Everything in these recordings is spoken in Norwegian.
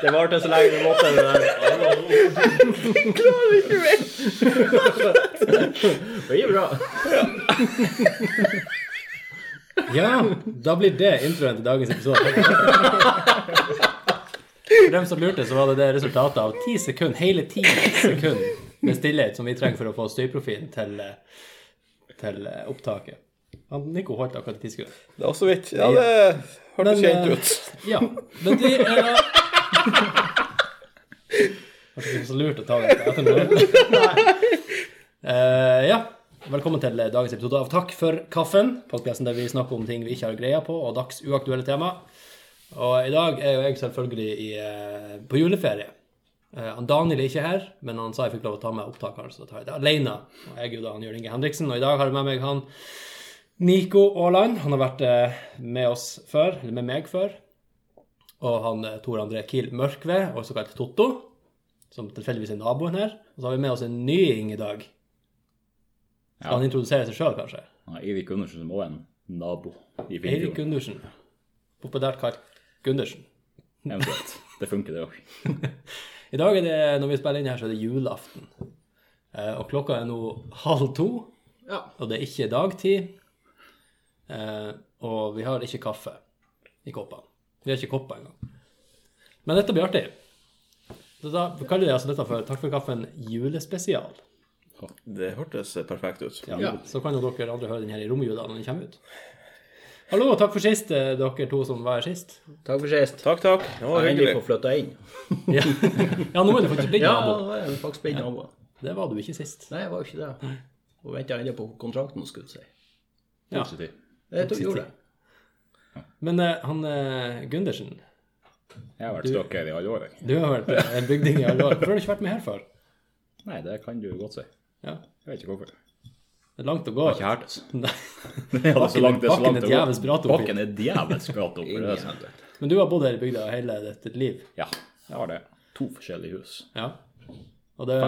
Det varte så lenge det måtte. Det der. Klarer ikke mer! Det gikk bra. Ja, da blir det introen til dagens episode. For dem som lurte, så var det det resultatet av 10 sekunder, hele 10 sekunder med stillhet som vi trenger for å få støyprofilen til, eh, til eh, opptaket. Han Nico holdt akkurat 10 sekunder. Det var så vidt. Ja, det hørtes Men, kjent eh, ut. Ja, men det er da Det er ikke så lurt å ta det etter noe. Eh, ja. Velkommen til dagens episode av Takk for kaffen. Podkasten der vi snakker om ting vi ikke har greia på, og dags uaktuelle tema. Og i dag er jo jeg selvfølgelig i, eh, på juleferie. Eh, han Daniel er ikke her, men han sa jeg fikk lov å ta med opptakeren, så da tar jeg det alene. Og jeg er jo da han Jørn Inge Henriksen, og i dag har jeg med meg han Nico Aaland. Han har vært eh, med oss før, eller med meg før. Og han eh, Tor André Kiel Mørkve, også kalt Totto, som tilfeldigvis er naboen her. Og så har vi med oss en nying i dag. Skal Ja. han introdusere seg sjøl, kanskje? Ja, Eirik Gundersen som også er en nabo i Eirik Finnfjord. Gundersen. Populært kalt Gundersen. Eventuelt. Det funker, det òg. I dag er det, når vi spiller inn her, så er det julaften. Eh, og klokka er nå halv to, Ja. og det er ikke dagtid. Eh, og vi har ikke kaffe i koppene. Vi har ikke kopper engang. Men dette blir artig. Så da kaller vi altså dette for Takk for kaffen julespesial. Det hørtes perfekt ut. Ja, Så kan jo dere andre høre den her i romjula når den kommer ut. Hallo, og takk for sist, eh, dere to som var her sist. Takk for sist. Takk, takk. Det var Jeg er endelig hyggelig. fått flytta inn. Ja, ja nå er du faktisk blitt Ja, nabo. jeg er faktisk blitt nabo. Det var du ikke sist. Nei, jeg var jo ikke det. Og venta ennå på kontrakten, skulle jeg si. Ja. Positiv. Det tok gjorde det. Men eh, han eh, Gundersen, Jeg har vært stalker i alle år. jeg. du har vært eh, en bygding i alle år. Hvorfor har du ikke vært med her før? Nei, det kan du godt si. Ja, Jeg vet ikke hvorfor. Det er langt å gå. Ikke her, altså. Nei. Det er så langt, det er så Bakken langt er å gå. djevelsk brat oppi. Bakken er djevelsk brat oppi. det er sant. Men du har bodd her i bygda hele ditt liv. Ja, jeg har det. To forskjellige hus. Ja. Og det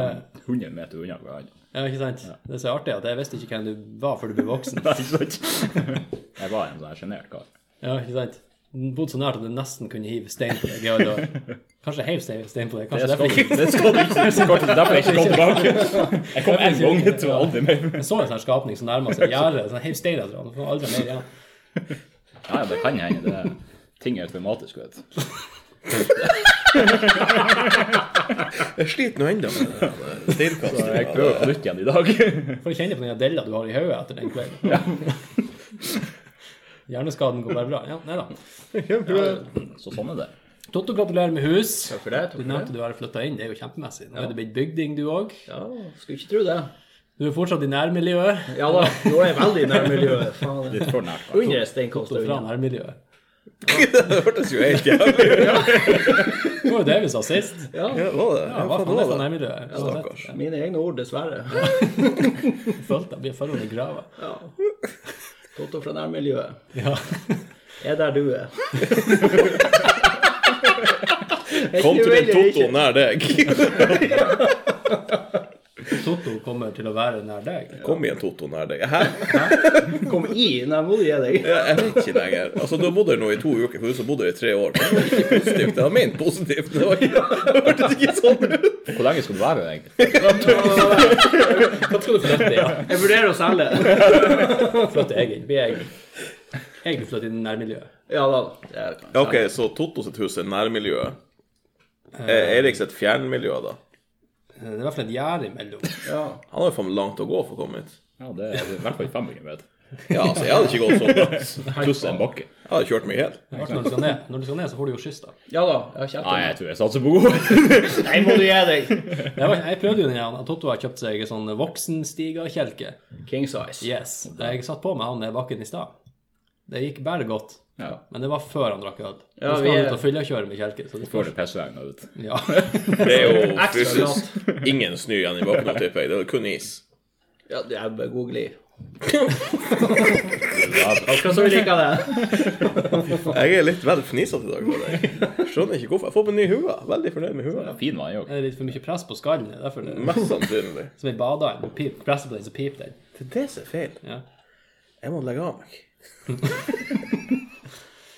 100 meter unna hverandre. Ja, ikke sant? Det er så artig at jeg visste ikke hvem du var før du ble voksen. Nei, ikke sant? Jeg var en sånn her sjenert kar. Ja, ikke sant? Bodd så nært at du nesten kunne hive stein på deg. i alle år. Kanskje heiv stein stein på deg. Det Kanskje skal derfor du ikke. ikke. Det skal du ikke. Det skal du ikke. Derfor er jeg ikke kommet tilbake. Jeg kom én gang, jeg tror aldri mer. Jeg så en sånn skapning som nærma seg gjerdet. Sånn heiv stein etter han. Får aldri mer igjen. Ja, det kan hende. Det er- Ting er automatisk, vet du. Jeg sliter nå ennå med det der Så jeg steilkastet. prøver på nytt igjen i dag. Får kjenne på den adella du har i hodet etter den kvelden. Hjerneskaden går bare bra. Ja, nei da. Så sånn er det. Totto, gratulerer med hus. Takk for det. Du Takk for det. nevnte du har flytta inn. Det er jo kjempemessig. Nå er det blitt bygding, du òg. Ja, skulle ikke tro det. Du er fortsatt i nærmiljøet. Ja da, nå er jeg veldig nær miljøet. Faen. Litt for nært. kanskje. Under Du steinkastet er fra unna. nærmiljøet. Det hørtes jo helt jævlig ut. Det var jo det vi sa sist. Ja, Ja, det var det. Ja, Ja, faen, hva faen er det fra var det. nærmiljøet? Stakkars. mine egne ord, dessverre. Jeg følte jeg ble følt under grava. Ja. Totto fra nærmiljøet. Ja. Er der du er. Kom til en Ikke veldig Totto nær deg. Totto kommer til å være nær deg. Kom igjen, Totto nær deg. Hæ? Kom i, nei, må du gi deg. Ja, Jeg vet ikke lenger. Altså, Du har bodd her nå i to uker, for du har bodd her i tre år. Det var ikke positivt. Jeg har ment positivt. Det var ikke, det hørtes ikke sånn ut. Hvor lenge skal du være her, egentlig? Hva skal du flytte i? Ja? Jeg vurderer å selge. Flytte jeg inn? Blir jeg Jeg vil flytte inn i nærmiljøet. Ja da. Det er det. Ja, OK, så Totto sitt hus er nærmiljøet. Er Eirik sitt fjernmiljø, da? Det er i hvert fall et gjerde imellom. Ja. Han har jo faen meg langt å gå for å komme hit. Ja, det er i hvert fall 500 meter. Ja, altså, jeg hadde ikke gått så langt. Pluss en bakke. Jeg hadde kjørt meg i hjel. Artig Når du skal ned, Når du skal ned, så får du jo skyss, da. ja da. Jeg har kjent Nei, det. jeg tror jeg satser på god. Nei, må du gi deg. Jeg, var, jeg prøvde jo den her. Totto har kjøpt seg en sånn voksenstigerkjelke. King size. Yes. Jeg satt på med han ned bakken i stad. Det gikk bare godt. Ja. Men det var før han drakk øl. Nå Ja, skal vi han er- ut og fyllekjøre med kjelke. Så det Får det pissregna ut. Ja. Det er jo Ekstra fysisk ingen snø igjen i bakken, tipper jeg. Det er kun is. Ja, det er bare god glid. Ja, Hva så vi liker det? Jeg er litt vel fnisete i dag. føler jeg. Skjønner ikke hvorfor. Jeg får meg ny hue. Veldig fornøyd med hua. fin var jeg òg. Det er litt for mye press på skallen. det er Derfor det Mest sannsynlig. som ei badearm. Pip- Presser på den, så piper den. Det er det som er feil. Ja. Jeg må legge av meg.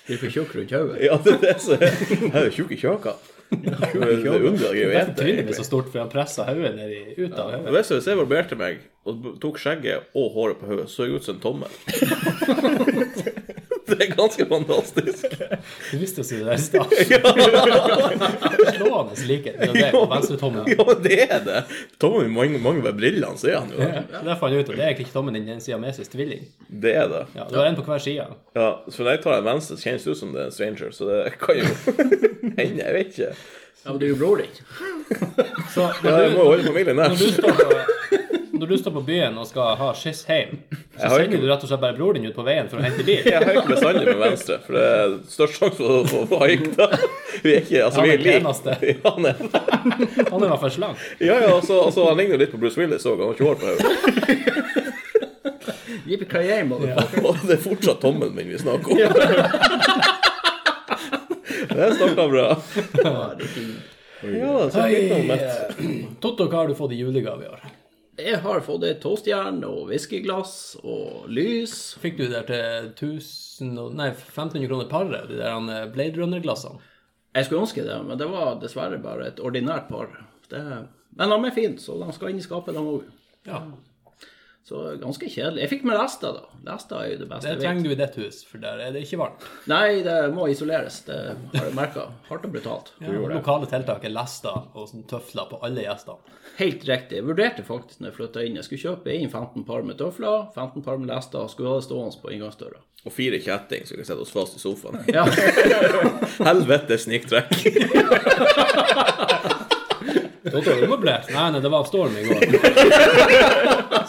Du er for tjukk rundt hodet. Ja, det er det som er Jeg er jo tjukk i kjaka. Det er underlig å greie å gjette, Trynet er så egentlig. stort, for han presset hodet ned i, ut av hodet. Hvis jeg barberte meg og b- tok skjegget og håret på hodet, så jeg ut som en tommel. det er ganske fantastisk. Du visste jo å si det der i stad. Slående likhet mellom deg og venstretommelen. Ja, men det er det. Tommelen min mangler bare brillene, så er han jo det. Ja, så Der fant jeg ut at det er egentlig ikke tommen din, det er en siamesis tvilling. Det er det. Ja, det var en på hver side. Ja, så når jeg tar en venstre, så kjennes det ut som det er en stranger, så det kan jo hende, jeg vet ikke. Ja, men det er jo broren din. Så Ja, når jeg du, må jo holde familien når du, nær. står, på, når du står på byen og skal ha skyss hjem, så Jeg har sender ikke- du rett og slett bare broren din ut på veien for å hente bil. Jeg har ikke bestandig med venstre, for det er størst sjanse for å få- få haik da. Vi er ikke Altså, Han vi er er like. peneste. Ja, han er Han er i hvert fall slang. Ja, ja, altså, altså han ligner jo litt på Bruce Willis òg, han har ikke hår på hodet. Yippee-ki-yay, motherfucker. Og det er fortsatt tommelen min vi snakker om. Det starta bra. Herregud. Ja, så litt om et. Totto, hva har du fått i julegave i år? Jeg har fått et toastjern og whiskyglass og lys. Fikk du der til 1000, og- nei, 1500 kroner paret, de der han, eh, Blade Runner-glassene? Jeg skulle ønske det, men det var dessverre bare et ordinært par. Det... Men de er fine, så de skal inn i skapet, de òg. Ja, Mm. Så ganske kjedelig. Jeg fikk med lester, da. Lester er jo det beste det jeg trenger vet. du i ditt hus, for der er det ikke varmt. Nei, det må isoleres. Det har jeg merka. Hardt og brutalt. Ja, lokale tiltak er lester og sånn tøfler på alle gjestene. Helt riktig. Jeg vurderte faktisk når jeg flytta inn. Jeg skulle kjøpe inn 15 par med tøfler, 15 par med lester, og skulle ha det stående på inngangsdøra. Og fire kjetting som kan sette oss fast i sofaen. Ja. Helvete sniktrekk. Totto, du må bli. Nei, nei, det var storm i går.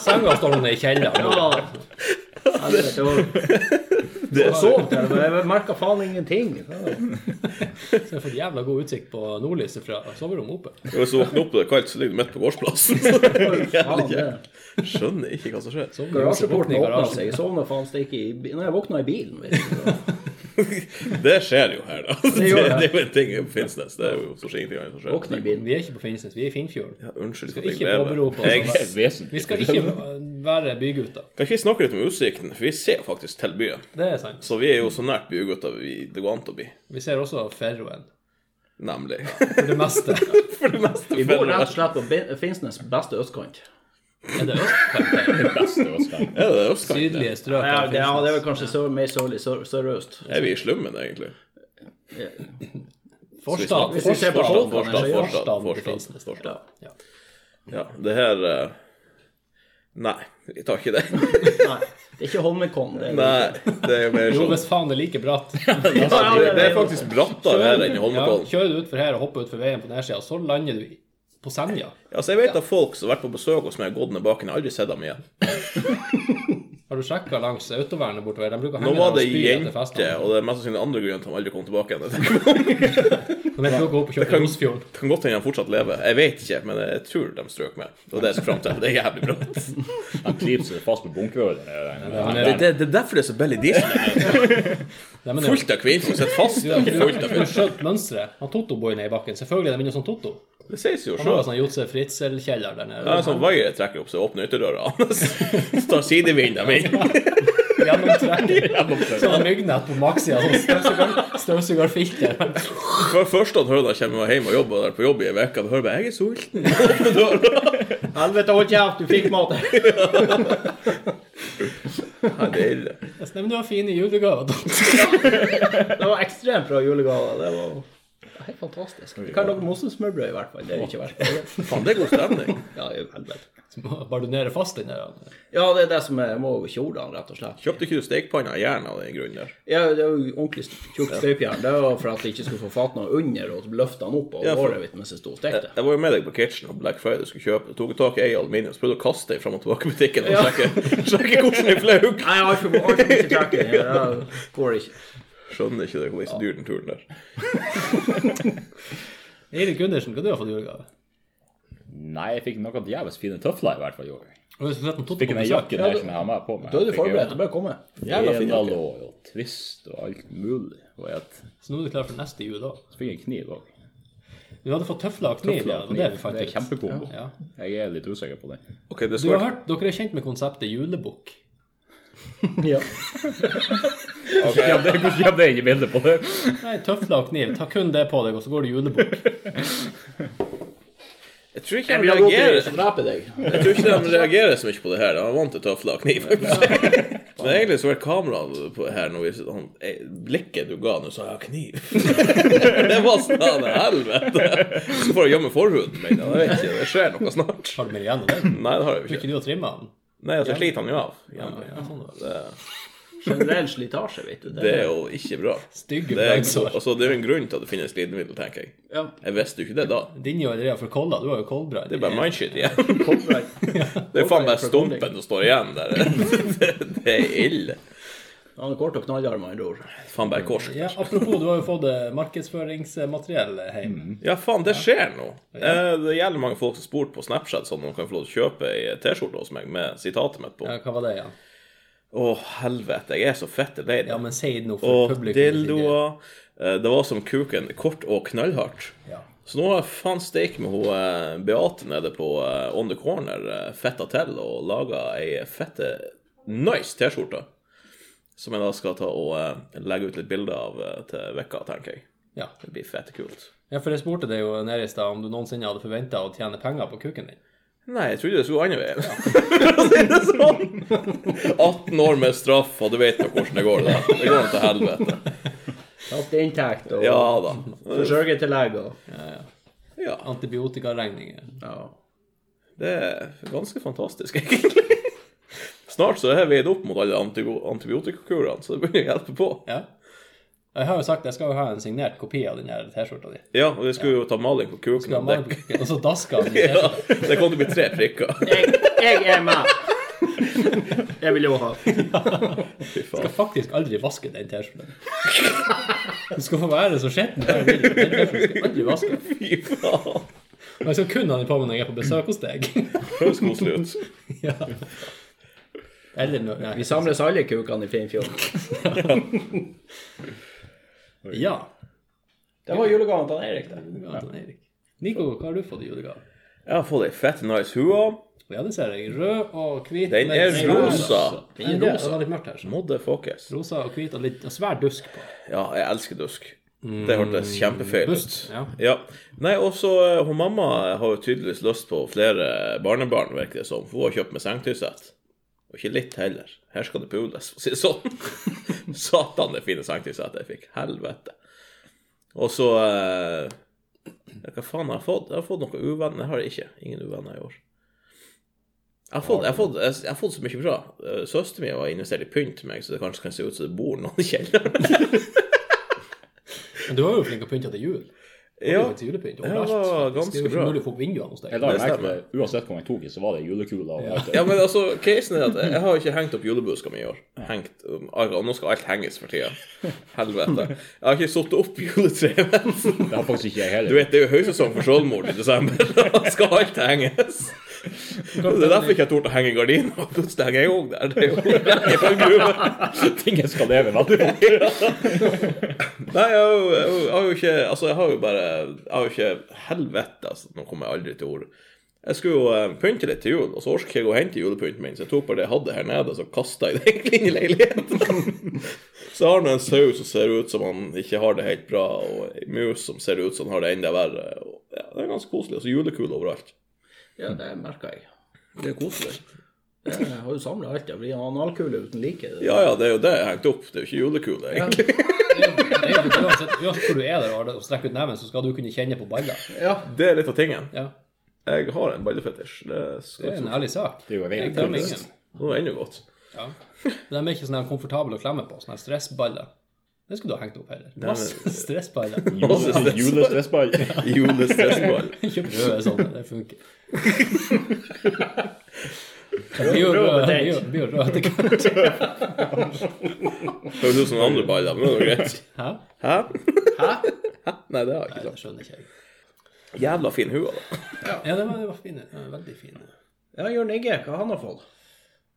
Senga står nå i kjelleren. Ja. Helvete, det var- Det er Jeg så sov der, men jeg merka faen ingenting. Så jeg har fått jævla god utsikt på nordlyset fra soverommet oppe. Hvis du våkner opp og det er kaldt, så ligger du midt på gårdsplassen. Faen, Jævlig det. kjekt. Skjønner ikke hva som skjer. Garasjeporten Våkne i åpna garasjen. seg. Jeg sovna faen steike i bi- Nei, jeg våkna i bilen. Vet du. Det skjer jo her, da. Det, gjør det. det er jo en ting på Finnsnes. Det er jo så ingenting annet som Våkna i skjer. bilen. Vi er ikke på Finnsnes, vi er i Finnfjord. Ja, unnskyld for Skal at ikke jeg påberope lever. oss Jeg å altså. være- Vi skal ikke være bygutter. Kan ikke vi snakke litt om utsikten, for vi ser jo faktisk til byen. Det er sant. Så vi er jo så nært bygutta vi det går an til å bli. Vi ser også Ferroen. Nemlig. For det meste. For det meste Vi bor rett og fedre. slett på Bin- Finnsnes beste østkant. Er det østkant? Beste Oscar. Er det østkant? Sydlige strøk Ja, av det ja, det er vel Finnsnes. kanskje sør, mer sørlig, sør, sørøst. Er vi i slummen, egentlig? Forstad. Hvis vi ser på Forstad. Forstad, Forstad. Forstad, Forstad til Forstad, Finnsnes. Forstad. Ja. Ja. Det her eh, Nei, vi tar ikke det. Nei, det er ikke Holmenkollen. det er- Nei, det er mer Jo, sånn hvis faen det er like bratt. Ja, Det ja, det det er faktisk brattere her enn i Holmenkollen. Ja, kjører du utfor her og hopper utfor veien på nedsida, så lander du i- på Senja. Altså, jeg vet at folk som har vært på besøk hos meg, har gått ned baken. Jeg har aldri sett dem igjen. Har du sjekka langs autovernet bortover? De bruker å Nå henge var der og det spy etter jente, festene. og det er mest sannsynlig andre grunnen til at de aldri kom tilbake igjen. De er plukket opp og kjørt kan- til Osfjorden. Det kan godt hende de fortsatt lever. Jeg vet ikke, men jeg tror de strøk med. Det var det jeg skulle fram til. Det er jævlig bratt. Han klyper seg fast på bunkerøret. Det, det, det er derfor det er så Belly Diesel. Nei, men det- Fullt av kvinner som sitter fast. Du har der, Fullt av du har skjønt mønsteret. Han Totto-boyen er i bakken. Selvfølgelig er de inne sånn Totto. Det sies jo Han har sjøl. en sånn Jotse Fritzel-kjeller der Det er en nede. sånn vaier jeg trekker opp, så jeg åpner ytterdøra hans. Så tar sidevinden dem inn. Gjennomtrekker. Sånn myggnett på maksida. Sånn støvsugerfilter. For først at høna kommer hjem og jobber der på jobb i ei uke, da hører jeg bare 'jeg er sulten'. Helvete, hold kjeft, du fikk mat! Nei, det er ille. Nei, men du har fine julegaver. Totto. Det var ekstremt bra julegaver. Det var helt fantastisk. Vi kan lage mosesmørbrød i hvert fall. Det er ikke verst. Faen, det er god stemning. Ja, i helvete. Så må jeg Bardonere fast den der. Ja, det er det som er må over kjolene, rett og slett. Kjøpte ikke du stekepanna i jern av den grunnen der? Ja, det er jo ordentlig tjukt støpejern. Det var for at jeg ikke skulle få fatt noe under, og løfte den opp Ja, av for- håret mitt mens jeg sto og stekte. Jeg var jo med deg på Kitchen og Black Friday skulle kjøpe. Jeg tok tak i ei aluminium, så prøvde jeg å kaste den fram og tilbake i butikken og sjekke, sjekke hvordan den fløy. Nei, jeg har ikke for mye tracking. Det går ikke. Skjønner ikke det, hvor så dyr den turen der. Eirik Gundersen, hva du har fått i julegave? Nei, jeg fikk noen djevelsk fine tøfler i hvert fall i år. Og hvis du setter en Totto Fikk på en besøk jakke der som jeg har med på meg. Da er du forberedt. Det er bare å komme. Jævla fin jakke. Edalå og twist og alt mulig. Og jeg Så nå er du klar for neste jul òg. så fikk jeg en kniv òg. Du hadde fått tøfler og kniv. ja, Det Det er vi fant er ut. kjempekombo. Ja. Jeg er litt usikker på den. Ok, det Du har skal hørt, Dere er kjent med konseptet julebukk. Ja. Ok, Ja, det Hvordan kommer det inn i bildet på det? Nei, tøfler og kniv. Ta kun det på deg, og så går du julebukk. Jeg tror ikke de reagerer som dreper deg. Jeg tror ikke de reagerer så mye på det her. De er vant til tøfler og kniv. Men egentlig så var kameraet på her når vi, han, eh, Blikket du ga nå, sa jeg kniv. Det var sånn helvete. Så får jeg gjemme forhuden min. Jeg vet ikke, det skjer noe snart. Har du mer igjen av den? Nei, det har jeg jo Tror ikke. ikke du har trimma den? Nei, altså, jeg sliter han jo av. Ja, ja, sånn da. Det, Generell slitasje, vet du. det er jo ikke bra. Stygge Det er, plaggsår. altså, det er jo en grunn til at det finnes glidemiddel, tenker jeg. Ja, Jeg visste jo ikke det da. Din jo er drevet for kolda. Du har jo koldbrann. Det er bare mindshit igjen. copyright. Det er faen bare stumpen som står igjen der. Det, det er ille. Han er kort og knallhard, med andre ord. Faen bare kors. Ja, apropos, du har jo fått eh, markedsføringsmateriell eh, hjem. Ja, faen, det skjer nå. Eh, Det gjelder mange folk som spurte på Snapchat sånn at de kan få lov til å kjøpe ei T-skjorte hos meg med sitatet mitt på. Ja, hva var det igjen? Å, helvete, jeg er så fette lei Ja, det. men si det nå for Og publikum. sin del. dildoer. Eh, Det var som kuken, kort og knallhardt. Ja. Så nå har jeg faen steik med hun eh, Beate nede på eh, On The Corner eh, fetta til og laga ei fette nice T-skjorte. Som jeg da skal ta og eh, legge ut litt bilder av eh, til vekka, tenker jeg. Ja. Det blir fette kult. ja, for jeg spurte deg jo nede i stad om du noensinne hadde forventa å tjene penger på kuken din. Nei, jeg trodde det skulle gå andre veien. For å si det sånn. 18 år med straff, og du vet nå hvordan det går. Da. Det går nå til helvete. Tapt inntekt og Ja da. forsørgertillegg og Ja, Antibiotikaregninger. ja. det er ganske fantastisk, egentlig. Snart så er vi veid opp mot alle antigo- antibiotikakurene, så det begynner å hjelpe på. Ja. Jeg har jo sagt jeg skal jo ha en signert kopi av den her T-skjorta di. Ja, og vi skulle jo ta maling på kuken Skal og ha dekk. malerbukken, Og så daska han. i Ja, T-skjorta. det kommer til å bli tre prikker. Jeg, jeg er med! Jeg vil jo ha. Fy Jeg faen. skal faktisk aldri vaske den T-skjorta. Du skal få være så skitten. du vil. Den T-skjorta skal jeg aldri vaske. Fy faen. Men jeg skal kun ha den på meg når jeg er på besøk hos deg. Høres koselig ut. Ja. Eller når nei. Vi samles alle kukene i Finnfjord. Ja. Det var julegaven til Erik, det. Erik. Nico, hva har du fått i julegave? Jeg har fått ei fette nice hue. Ja, det ser jeg. Rød og hvit. Den med- er Nei, rosa. Nei, det- Det var litt mørkt her. Så. Motherfuckers. Rosa og hvit og litt og svær dusk på. Ja, jeg elsker dusk. Det hørtes kjempefeil ut. Bust, ja. Nei, også eh, hun mamma har jo tydeligvis lyst på flere barnebarn, virker det som. For hun har kjøpt med sengetøysett. Og ikke litt heller. Her skal det pules, for å si det sånn. Satan, det fine sengetøysettet jeg fikk. Helvete. Og så eh, ja, Hva faen har jeg fått? Jeg har fått noen uvenner. Jeg har ikke. Ingen uvenner i år. Jeg har, fått, jeg, har fått, jeg, jeg har fått så mye bra. Eh, Søsteren min har investert i pynt til meg, så det kanskje kan se ut som det bor noen i kjelleren. Men du var jo flink til å pynte til jul. Det var Ja, jo til julepynt det overalt. var Det er jo ganske ikke bra. mulig å få opp vinduene hos Jeg deg. la Det merke til stemmer. det. Uansett hvor jeg tok i, så var det julekuler. og alt det. Ja, men altså, casen er at jeg har ikke hengt opp julebuska mi i år. Hengt, um, og nå skal alt henges for tida. Helvete. Jeg har ikke satt opp juletreet mitt. Det har faktisk ikke jeg heller. Du vet, det er jo høysesong for selvmord i desember. Da skal alt henges. Det er derfor ikke jeg torde å henge gardina. Plutselig henger jeg òg der. Det er jo jeg får en gruve. Tingen skal leve veldig fort. Nei, jeg har, jo, jeg har jo- jeg har jo ikke Altså, jeg har jo bare Jeg har jo ikke Helvete, altså. Nå kommer jeg aldri til ordet. Jeg skulle jo eh, pynte litt til jul, og så orket jeg ikke å hente julepynten min, så jeg tok bare det jeg hadde her nede, og så kasta jeg det egentlig inn i leiligheten. så har han en sau som ser ut som han ikke har det helt bra, og ei mus som ser ut som han har det enda verre. Og, ja, det er ganske koselig. Og så julekule overalt. Ja, det merka jeg. Det er koselig. Jeg har jo samla alt. Det blir en analkule uten like. Det. Ja ja, det er jo det jeg hengte opp. Det er jo ikke julekule, egentlig. Det er jo Uansett uansett hvor du er der og har det- og strekker ut neven, så skal du kunne kjenne på baller. Det er litt av tingen. Ja, Jeg har en ballefetisj. Det skal det er en det ærlig sak. Det er jo en Jeg veldig dømmer kunst. ingen. er ennå godt. Ja. De er ikke sånn her komfortable å klemme på, sånne her stressballer. Det skulle du ha hengt opp heller. Masse stressballer. Jule- Julestressball. Julestressball. Kjøp røde sånne, det funker. Det blir jo rød- det blir jo- det blir jo rød etter hvert. Høres ut som den andre ballen, men det er greit. Hæ? Hæ? Hæ? Nei, det har jeg ikke Det sagt. skjønner ikke jeg. Jævla fin hue, da. Ja, det var, det var fine. Det var veldig fine. Ja, Jørn Egge, hva han har fått?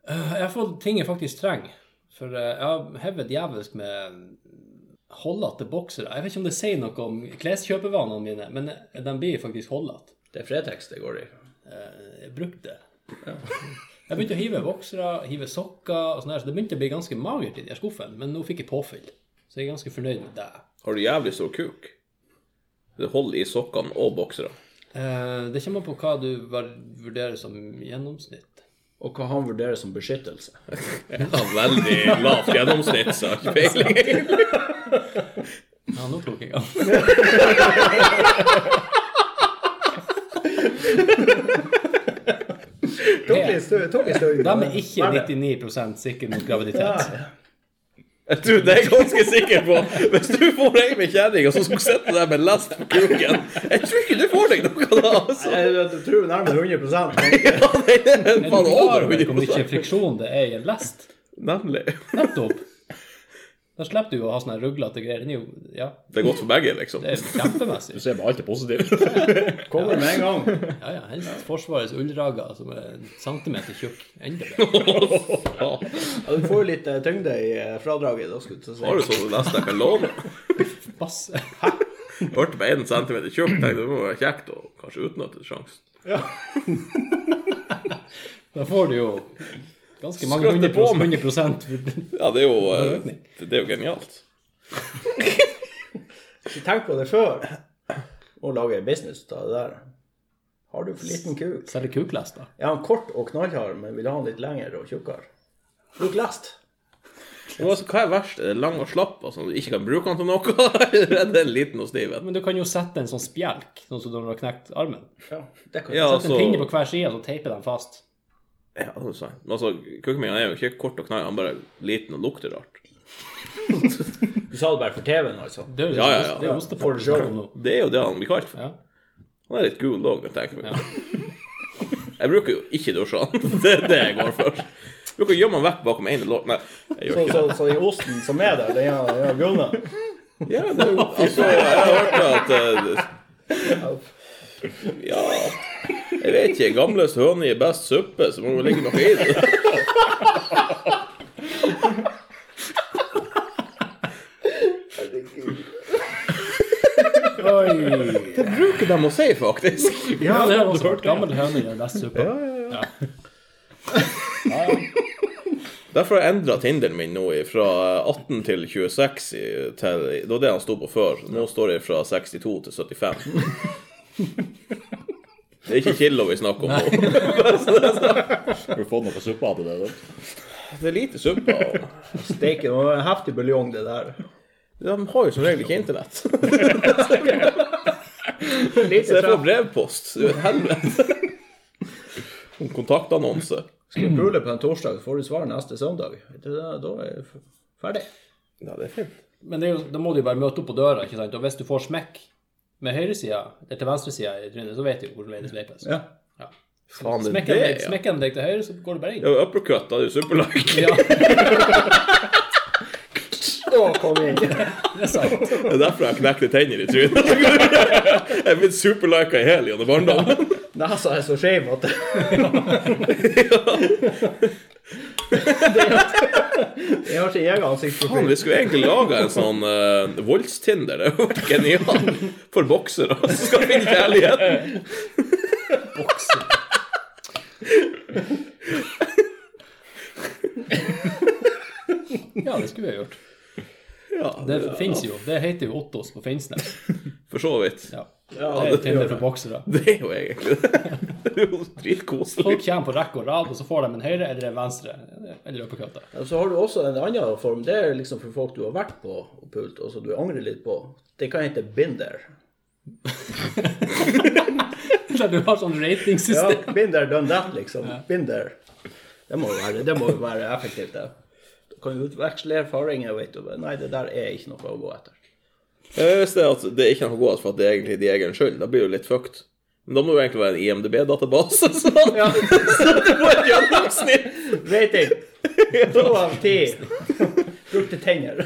Jeg har fått ting jeg faktisk trenger. For eh, jeg har hevet djevelsk med holdete boksere. Jeg vet ikke om det sier noe om kleskjøpevanene mine, men de blir faktisk holdete. Eh, Det er Fretex det går i. Jeg brukte det. Jeg begynte å hive voksere, hive sokker og sånn her, så det begynte å bli ganske magert i de her skuffene. Men nå fikk jeg påfyll, så jeg er ganske fornøyd med det. Har du jævlig stor kuk? Det holder i sokkene og boksere. Eh, det kommer an på hva du val- vurderer som gjennomsnitt. Og hva han vurderer som beskyttelse. Jeg har veldig lavt gjennomsnitt, så jeg har ikke peiling. Ja, nå tok jeg av. De er ikke 99 sikre mot graviditet. Jeg tror det er jeg ganske sikker på. Hvis du får ei med kjerring og så skal sitte der med lest på kuken Jeg tror ikke du får deg noe da, altså. Jeg, jeg tror nærmere 100 men Ja, det er Er faen du klar over over hvor mye 100 friksjon det er i en lest? Nemlig. Nettopp. Da slipper du å ha sånne ruglete greier. Den er jo Ja, Det er godt for begge, liksom. det er Du kjempemessig. ser bare alt er positivt. kommer med en gang. Ja, ja, helst Forsvarets ullrager som er en centimeter tjukk. Enda bedre. Ja, du får jo litt eh, tyngde i eh, fradraget. da skulle jeg til å si. Har du sånn lest jeg kan låne? Masse. Hørte på 1 cm tjukk, tenkte det må være kjekt å kanskje utnytte sjansen. Da får du jo ganske mange Skratte hundre på pros- meg. 100 prosent. Ja, det er jo, eh, det det er jo genialt. Ikke tenk på det før å lage en business ut av det der. Har du for liten kuk? Selge kuklester. Er han kort og knallhard, men vil ha han litt lengre og tjukkere? Bruk lest. Men altså, hva er verst? Er det lang og slapp, altså du ikke kan bruke den til noe? Eller er det liten og stiv? Men du kan jo sette en sånn spjelk, sånn som når du har knekt armen. Ja, det kan Ja, jeg Sette en altså- pinne på hver side, så teiper den fast. Ja, det er sant. Men altså, kukken min han er jo ikke kort og knall, han er bare liten og lukter rart. si. Du sa det bare for TV-en, altså. Det er jo Ja, ja, ja. det er jo ostepop vi snakker om nå. Det er jo det han blir kalt for. Ja. Han er litt gul òg, når jeg tenker meg om. Jeg bruker jo ikke dusje han. Det er det jeg går for. Jeg bruker å gjemme han vekk bakom ene lår. Nei, jeg gjør Så, ikke det. så, så den osten som er der, den har- den har gulna? Ja, det er jo altså, Jeg har hørt at eh, Ja Jeg vet ikke. Gamlest høne gir best suppe, så må det ligge noe i det. Oi! Det bruker de å si, faktisk. Ja, det har også vært gammel høne i den beste suppa. Derfor har jeg endra Tinderen min nå fra 18 til 26. i- Til, det var det han sto på før. Nå står det fra 62 til 75. Det er ikke kilo vi snakker om nå. Har du fått noe på suppa til det? da? Det er lite suppe. Og Steike, det var en heftig buljong, det der. de har jo som regel ikke internett. Så Lite jeg får treff. brevpost. Det er jo et helvete. En Kontaktannonse. Skal du pule på en torsdag, så får du svar neste søndag. Vet du det, Da er jeg f- ferdig. Ja, det er fint. Men det er jo, da må du jo bare møte opp på døra, ikke sant? Og hvis du får smekk med høyresida eller til venstresida i trynet, så vet du jo hvor veien det sveipes. Ja. Ja. Faen, det er Smekker de det, deg, ja. smekker de deg til høyre, så går du bare inn. Ja, uppercut, da er det jo superlag. Ja, Å, kom inn. det er sant. Det er derfor jeg knekte tenner i trynet. Jeg er blitt superlika i hele gjennom barndommen. Nesa er så skeiv at Jeg har ikke egen Faen, ansiktsprofil. vi skulle egentlig laga en sånn uh, voldstinder. Det hadde vært genialt for boksere som skal finne kjærligheten. Ja, det skulle vi ha gjort. Ja, Det finnes jo. Det heter jo Ottos på Finnsnes. for så vidt. Ja. Ja, Det er det gjør Tinder jeg. for boksere. Det er jo egentlig det. Det er jo dritkoselig. Folk kommer på rekke og rad, og så får de en høyre eller en venstre. Eller uppercut. da. Ja, Så har du også en annen form. Det er liksom for folk du har vært på og pult, og som du angrer litt på. Det kan hete Binder. Så Du har sånn Ja, ratingsystem. Binder done that, liksom. Binder. Det må jo være, det må jo være effektivt, det. Du kan jo utveksle erfaringer, vet du. Nei, det der er ikke noe å gå etter. Eh, Hvis det er at det ikke er noe godt for at det er egentlig din egen skyld, da blir det jo litt fucked. Men da må det jo egentlig være en IMDb-database, så Ja. så du får et gjennomsnitt. Rating. To av ti. Brukte tenner.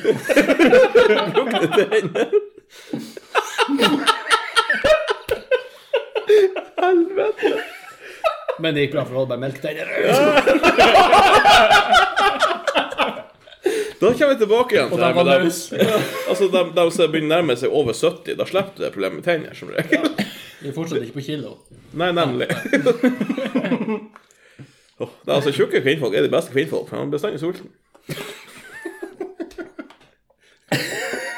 Men det gikk bra for Holberg Melk. Der. Da kommer vi tilbake igjen til Og da det med var dem. Altså, de, de som begynner å nærme seg over 70, da slipper du det problemet med tenner, som regel. Vi er fortsatt ikke på kilo. Nei, nemlig. Åh, det er altså Tjukke kvinnfolk er de beste kvinnfolk, for de er bestandig sulten.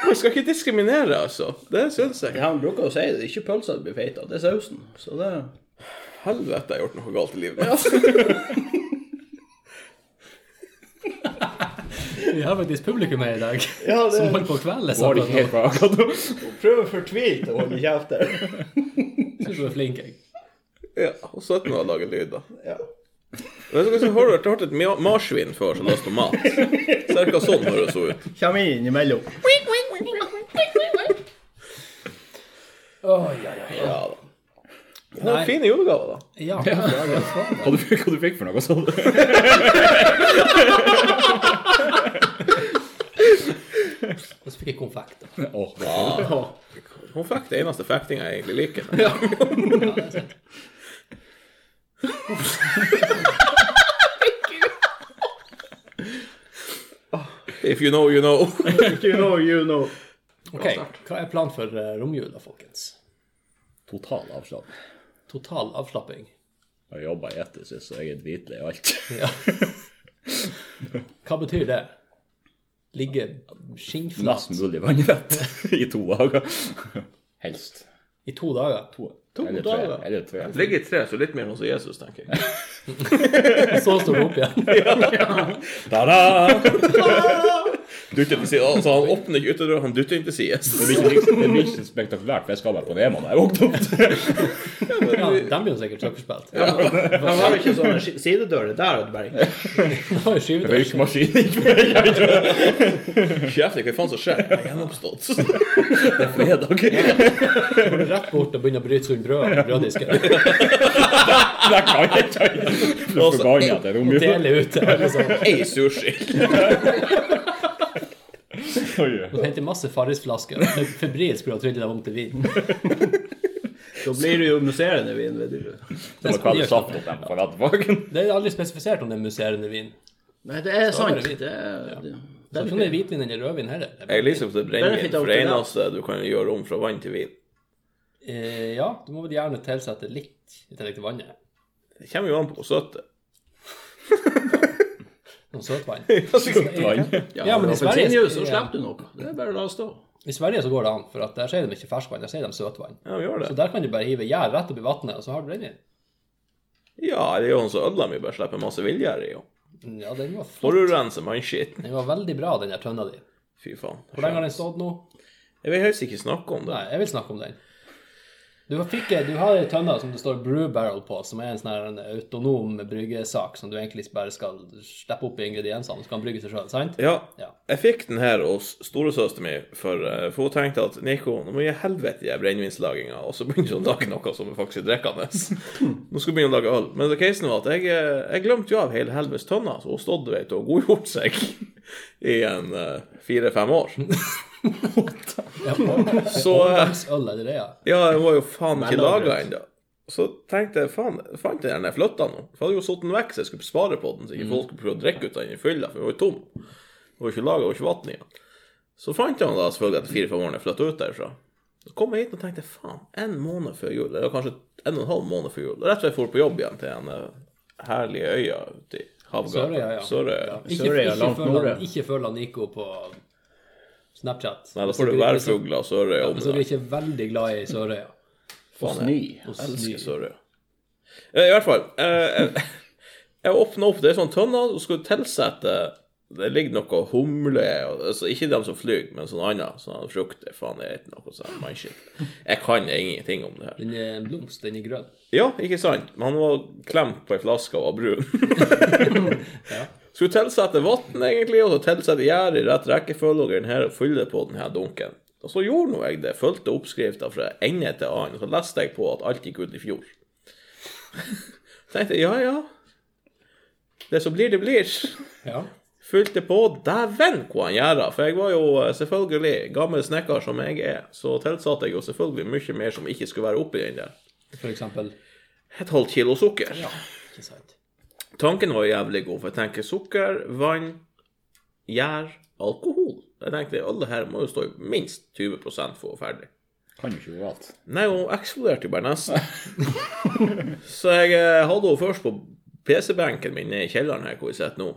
Man skal ikke diskriminere, altså. Det syns jeg. Ja, han bruker å si det. Det er ikke pølsa du blir feit av, det er sausen. Så det Helvete, jeg har gjort noe galt i livet mitt. Vi har faktisk publikum her i dag Ja, som holder på å kvele Var seg. det ikke helt bra akkurat nå? Prøver fortvilt å holde kjeft der. Synes du er flink, jeg. Ja, og 17 år lager lyd, da. Ja. Men så har du hørt et ma- marsvin før som laster mat? Cirka sånn høres hun ut. Kjem inn imellom. Oi, oi, oi. Ja da. Det var fine julegaver, da. Ja, det er det. Hva du, hva du fikk for noe, sa du? Og så fikk jeg konfekt. da. Åh, Hun fikk det eneste fektinga jeg egentlig liker. If you know, you know. You know, you know. Ok, Hva er planen for eh, romjula, folkens? total avslapp. Total avslapping. Jeg har jobba i etter sist, så jeg er dritlei av alt. Ja. Hva betyr det? Ligge skinnflat Mest mulig vannrett i to dager. Helst. i to dager? To, Eller tre- dager? Eller tre. Ligger i tre, så litt mer hos Jesus, tenker jeg. Så står du opp igjen. Ta-da! Dutter til siden, altså Han åpner ikke utedøra, han dutter inn til sides. Det blir ikke, det blir ikke spektakulært, for jeg skal være på Nema når jeg våkner opp. Ja, de blir jo sikkert sukkerspilt. Ja. Han har ikke sånne sk- sidedører der. og det Bare. Røykmaskin. Røykmaskin gikk Kjeft, hva faen som skjer? Jeg er gjenoppstått. fredag. Rett bort og begynne å bryte sunn brød av brøddisken. Det kan jeg ikke. Jeg ble Altså, forbannet etter romjula. Dele ut til alle som Ei sushi. Oi, henter masse Farris-flasker. Febrilsk prøver å trylle deg om til vin. Da blir du jo musserende vin. Vet du. Så må kvelde saft opp dem for etterpå. Det er aldri spesifisert om det er musserende vin. Nei, det er sant. det hvit. Det er, det, Så jeg tror det er hvitvin eller rødvin heller. Jeg liker at det brennevin, Benefit av for det det, da. eneste du kan gjøre om fra vann til vin. Eh, ja, du må vel gjerne tilsette litt i tillegg til vannet. Det kommer jo an på hvor søtt det er. Noe søtvann. ja, Ja, men i Sverige- Appelsinjuice, så slipper du noe. Det er bare å la det stå. I Sverige så går det an, for at der sier de ikke ferskvann, der sier de søtvann. Ja, vi gjør Så det. der kan du bare hive gjær rett opp i vannet, og så har du brennevin. Ja, det er jo sånn som øla mi bare slipper masse villgjær i. jo. Ja, den var flott. Forurenser mannskitten. Den var veldig bra, den der tønna di. Fy faen. Hvor lenge har den stått nå? Jeg vil helst ikke snakke om det. Nei, jeg vil snakke om den. Du, fikk, du har ei tønne som det står brew barrel på, som er en sånn her en autonom bryggesak som du egentlig bare skal steppe opp i ingrediensene, så kan brygge seg sjøl, sant? Ja, Ja. jeg fikk den her hos storesøsteren min, for, eh, for hun tenkte at Nico, nå må jeg helvete i brennevinslaginga, og så begynner hun å lage noe som er faktisk drikkende. Nå skal hun begynne å lage øl. Men det casen var at jeg, eh, jeg glemte jo av hele helvetes tønna, så hun stod vet, du, og godgjorde seg i en eh, fire-fem år. så eh, Øl er det det, ja. Ja, den var jo faen ikke Mellombrus. laga ennå. Så tenkte jeg faen, fant jeg den jeg flytta nå? For jeg hadde jo satt den vekk, så jeg skulle spare på den, så ikke folk skulle prøve å drikke ut av den i fylla, for den var jo tom. Det var ikke laga, ikke vann i den. Så fant jeg den da selvfølgelig etter fire-fem år når jeg flytta ut derfra. Så kom jeg hit og tenkte faen, en måned før jul, eller kanskje en og en halv måned før jul, rett før jeg dro på jobb igjen til den eh, herlige øya ute i Sørøya, ja. havgapet. Sørøya. Ikke, Sørøya, ikke, langt følg, nordre. han- ikke følg han Nico på Snapchat. Nei, da Hvis får du dere- hvis- værfugler og Sørøya om Hvis dere deg. ikke er veldig glad i Sørøya. Og sny. Jeg elsker Sørøya. Eh, I hvert fall. eh, Jeg, jeg åpna opp det er sånn tønne og skulle tilsette Det ligger noe humle og, altså, Ikke dem som flyr, men sånn annet. Sånn frukt det faen jeg heter noe sånn mannskitt. Jeg kan ingenting om det her. Den er en blomst, den er grønn. Ja, ikke sant? Men han var klemt på ei flaske og var brun. Skulle tilsette vann, egentlig, og så tilsette gjær i rett rekkefølge og den her, og fylle på den her dunken. Og så gjorde nå jeg det, fulgte oppskrifta fra ende til annen, og så leste jeg på at alt gikk ut i fjor. Tenkte jeg, ja ja, det som blir, det blir. Ja. Fylte på dæven hva han gjør, for jeg var jo eh, selvfølgelig gammel snekker som jeg er, så tilsatte jeg jo selvfølgelig mye mer som ikke skulle være oppi den der. For eksempel. Et halvt kilo sukker. Ja, ikke sant. Tanken var jævlig god, for jeg tenker sukker, vann, gjær, alkohol. Jeg tenkte alle her må jo stå i minst 20 for å være ferdig. Kan jo ikke gå galt. Nei, hun eksploderte jo bare nesten. Så jeg eh, hadde henne først på PC-benken min nede i kjelleren her hvor vi sitter nå.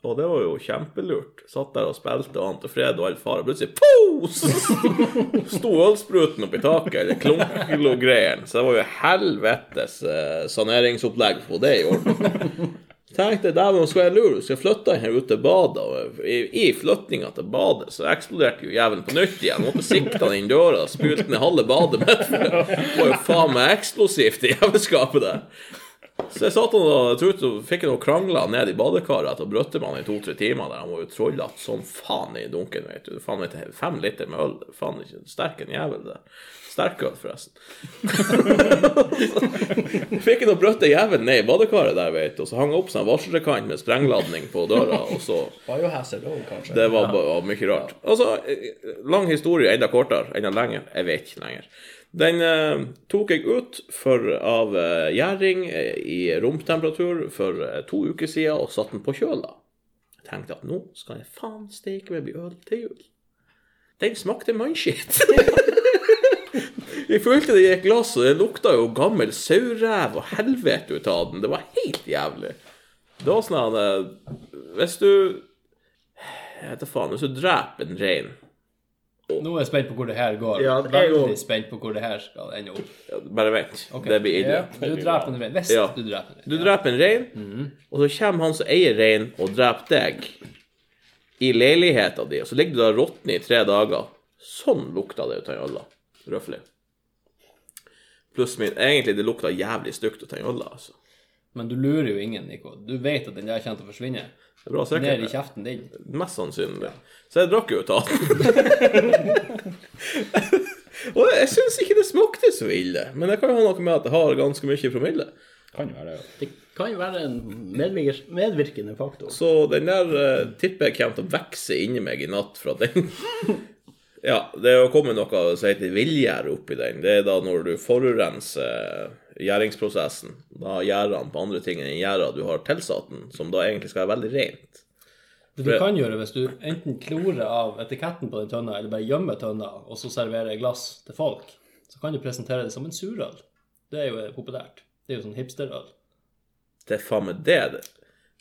Og det var jo kjempelurt. Satt der og spilte og ante fred og all fare. Plutselig pow! Så Sto ølspruten oppi taket, eller klunkelogreiene. Så det var jo helvetes eh, saneringsopplegg på det i år. Tenkte dæven, skal jeg lure, skal jeg flytte den her ut til badet? Og i, i flyttinga til badet så eksploderte jo jævelen på nytt igjen. Måtte sikte han inn døra, spylte ned halve badet mitt. Det var jo faen meg eksplosivt i jævelskapet der. Så jeg satt han og trut, og fikk noen krangler ned i badekaret etter brøtte man i to-tre timer. der Han var jo trollete som faen i dunken, vet du. Faen vet du, Fem liter med øl. Faen ikke sterk en jævel, det. Sterkøl, forresten. fikk han og brøtte jævelen ned i badekaret der, vet du. Og så hang han opp seg en varselrekant med sprengladning på døra, og så Biohazard òg, kanskje. det var, ba- var mye rart. Altså, eh, lang historie, enda kortere, enda lenger. Jeg vet ikke lenger. Den eh, tok jeg ut for, av eh, gjæring eh, i romtemperatur for eh, to uker siden og satte den på kjøla. Jeg tenkte at nå skal jeg faen steke meg bli øl til jul. Den smakte mannskitt. Jeg følte det i et glass, og det lukta jo gammel sauræv og helvete ut av den. Det var helt jævlig. Det var sånn at eh, Hvis du Jeg vet da faen. Hvis du dreper en rein Nå er jeg spent på hvor det her går. Ja, det er jo- Veldig spent på hvor det her skal ende opp. ja, Bare vent. Ok. Det blir ille. Du dreper en rein. Hvis Ja. du dreper en rein. Du dreper en rein, og så kommer han som eier reinen, og dreper deg i leiligheta di, og så ligger du der råtten i tre dager. Sånn lukta det ut av jølla. Røffelig. Pluss min Egentlig, det lukta jævlig stygt ut av jølla, altså. Men du lurer jo ingen, Nico. Du vet at den der kommer til å forsvinne. Det er bra Ned i sikkert. kjeften din. Mest sannsynlig. Så jeg drakk jo ut av den. Og jeg syns ikke det smakte så ille, men det kan jo ha noe med at jeg har ganske mye promille. Kan jo være det. Det kan jo være en medvirker- medvirkende faktor. Så den der eh, tipper jeg kommer til å vokse inni meg i natt fra den. ja, det er jo kommet noe som heter villgjær oppi den. Det er da når du forurenser eh, gjæringsprosessen. Da gjærer han på andre ting enn gjæra du har tilsatt den, som da egentlig skal være veldig rent. Det du kan gjøre hvis du enten klorer av etiketten på den tønna, eller bare gjemmer tønna, og så serverer glass til folk, så kan du presentere det som en surøl. Det er jo populært. Det er jo sånn hipsterøl. Det er faen meg det. det.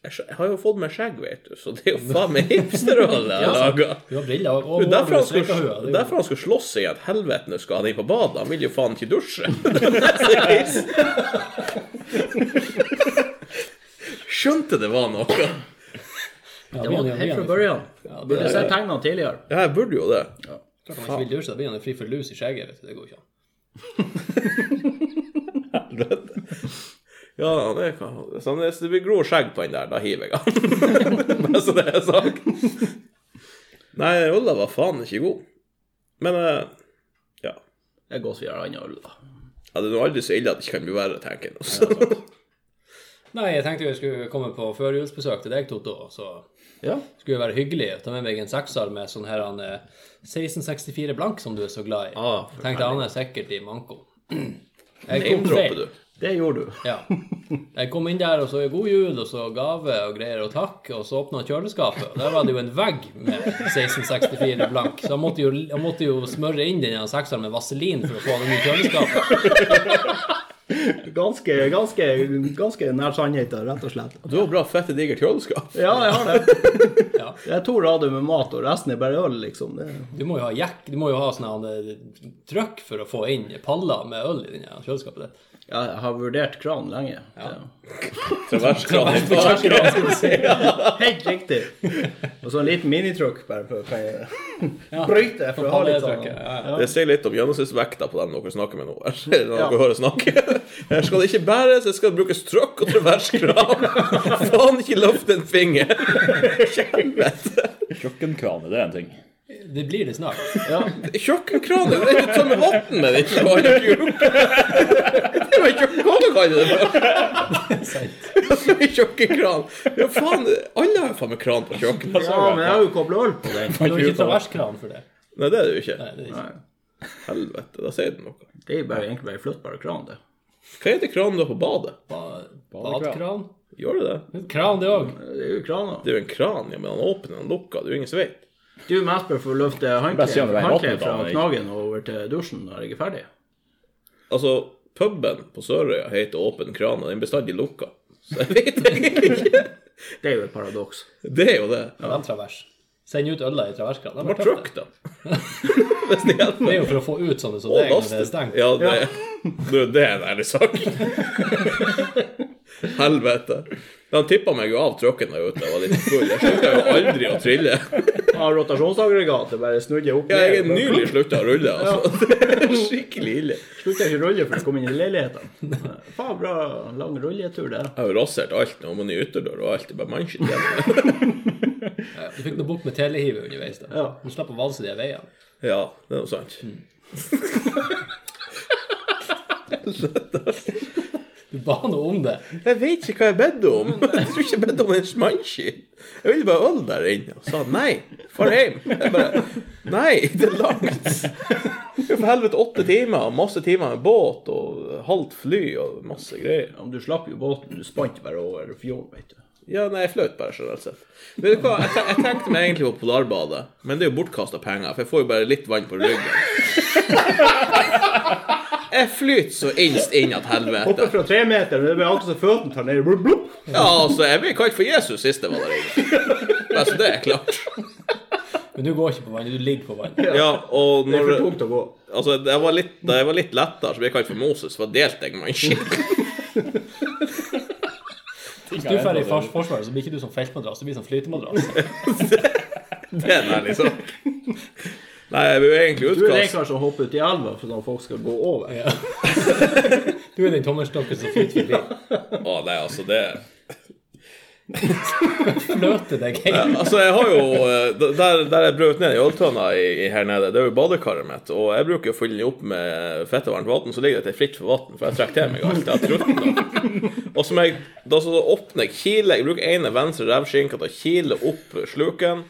Jeg skj- jeg har jo fått meg skjegg, vet du, så det er jo faen meg hipsterrolle jeg har laga. Du har briller og Det er derfor han skal, strekerhue. det Det er er jo- derfor han skal slåss i at helvete nå skal han inn på badet. Han vil jo faen ikke dusje. Det er reis. Skjønte det var noe. Ja, Det var blir han- blir helt han- fra børjan. Ja, det Burde er- sett tegnene tidligere. Ja, jeg burde jo det. Klart han ikke vil dusje, da blir han jo fri for lus i skjegget. vet du. Det går ikke an. Ja, det kan så Hvis det blir grå skjegg på den der, da hiver jeg han. Bare så det er sagt. Nei, Ulla var faen ikke god. Men eh, ja. Jeg går så gjør annen øl, da. Ja, det er nå aldri så ille at det ikke kan bli verre, tenker jeg. nå. Nei, jeg tenkte vi skulle komme på førjulsbesøk til deg, Toto. Så Ja. skulle det være hyggelig å ta med meg en sekser med sånn her han, eh, 1664 blank som du er så glad i. Ah, forferdelig. tenkte han er sikkert i manko. Jeg kom Name-dropper feil. du. Det gjorde du. Ja. Jeg kom inn der og så god jul og så gave og greier og takk, og så åpna kjøleskapet. Og der var det jo en vegg med 1664 blank, så jeg måtte jo, jeg måtte jo smøre inn den ene sekseren med vaselin for å få den i kjøleskapet. Ganske, ganske, ganske nær sannheten, rett og slett. Du har bra fette digert kjøleskap. Ja, jeg har det. Ja. Det er to rader med mat, og resten er bare øl, liksom. Det, Du må jo ha jekk, du må jo ha sånn her, eh, trøkk for å få inn paller med øl i den ene kjøleskapet ditt. ja, jeg har vurdert kran lenge. Det- Traverskran. Helt riktig. Og så en liten minitrykk, bare for å kan jeg bryte. For å ha litt sånn. Palletrykket, ja, ja. Det sier litt om gjennomsnittsvekta på dem dere snakker med nå. her. Når dere hører snakke. Her skal det ikke bæres, det skal brukes trøkk og traverskran. Faen, ikke løft en finger! Helvete! Kjøkkenkrane, det er en ting. Det blir det snart. Ja. Kjøkkenkranen er jo tømme vann med den! Det var jo ikke Det var ikke hva du kaller det for! Altså, Kjøkkenkran. Ja, faen, alle har jo faen meg kran på kjøkkenet. ja, men jeg har jo kobla øl på den. Du har ikke traverskran for det. Nei, det er det jo ikke. Nei, det er ikke. Helvete, da sier det noe. Det er jo bare, egentlig bare flyttbar kran, det. Hva heter kranen du har på badet? Ba- Badekran? Gjør det det? Kran, det òg. Det er jo krana. Det er jo en kran, ja, men han åpner og han lukker. Det er jo ingen som vet. Du er mest bare for å løfte Bare si om det er håndkleet en håndkle åpnet, fra da, men ikke- knagen og over til dusjen når jeg er ferdig. Altså, puben på Sørøya heter Åpen kran, og den er bestandig lukka. Så jeg vet egentlig ikke. Det er jo et paradoks. Det er jo det. Ja. Den travers. Send ut øla i traverskranen. Det Hva var truck, tøft, da? Hvis det hjelper Det Det meg. er jo for å få ut sånne som Og deg når det laste. er stengt. Ja, det, Du, det er en ærlig sak. Helvete. Han tippa meg jo av trucken da jeg var ute. Jeg var litt full. Jeg slutta jo aldri å trille. Har rotasjonsaggregatet bare snudd jeg opp Jeg ned, er og bare- nylig slutta å rulle. Altså. Det er skikkelig ille. Slutta ikke å rulle for å komme inn i leiligheten. Faen, bra lang rulletur, det. Jeg har jo rasert alt nå med ny ytterdør og alt. Det er bare mannskitt igjen. Ja, Du fikk noe bukt med telehivet underveis. da. Ja. Du slapp å valse de veiene. Ja, det er jo sant. Du ba noe om det. Jeg vet ikke hva jeg bedt om. Jeg tror ikke jeg bedt om en smanchi. Jeg ville bare øl der inne. Og sa nei, far hjem. Jeg bare Nei, det er langt. Det er for helvete åtte timer, og masse timer med båt og halvt fly og masse greier. Om du slapp jo båten, du spant bare over fjorden, vet du. Ja, nei, jeg fløt bare generelt sett. Vet du hva, jeg, te- jeg tenkte meg egentlig på Polarbadet, men det er jo bortkasta penger, for jeg får jo bare litt vann på ryggen. Jeg flyter så innst inn at helvete. Hopper fra tre meter, men det blir alltid så føttene tar ned. Blup, blup. Ja, altså, jeg ble kalt for Jesus sist jeg var der inne. Altså, det er klart. Men du går ikke på vannet, du ligger på vannet. Ja, og Det er når for tungt å gå. Altså, jeg var litt, da jeg var litt lettere, så ble jeg kalt for Moses, for da delte jeg meg skikkelig. Hvis du drar i fars forsvaret, så blir ikke du som feltmadrass, du blir som flytemadrass. Det er der, liksom. Nei, jeg ble jo egentlig Du er den utkast. karen som hopper uti elva for at folk skal gå over. Ja. Du er den tommelstokken som flyter forbi. Å, nei, altså, det Fløter deg helt. Altså, jeg har jo eh, Der, der jeg brøt ned i øltønna i- i her nede, det er jo badekaret mitt, og jeg bruker å fylle den opp med fett og varmt vann, så ligger det at det er fritt for vann, for jeg trekker til meg alt. Jeg trøtner. Og som jeg Da så åpner jeg kilet Jeg bruker ene venstre revskinka til å kile opp sluken,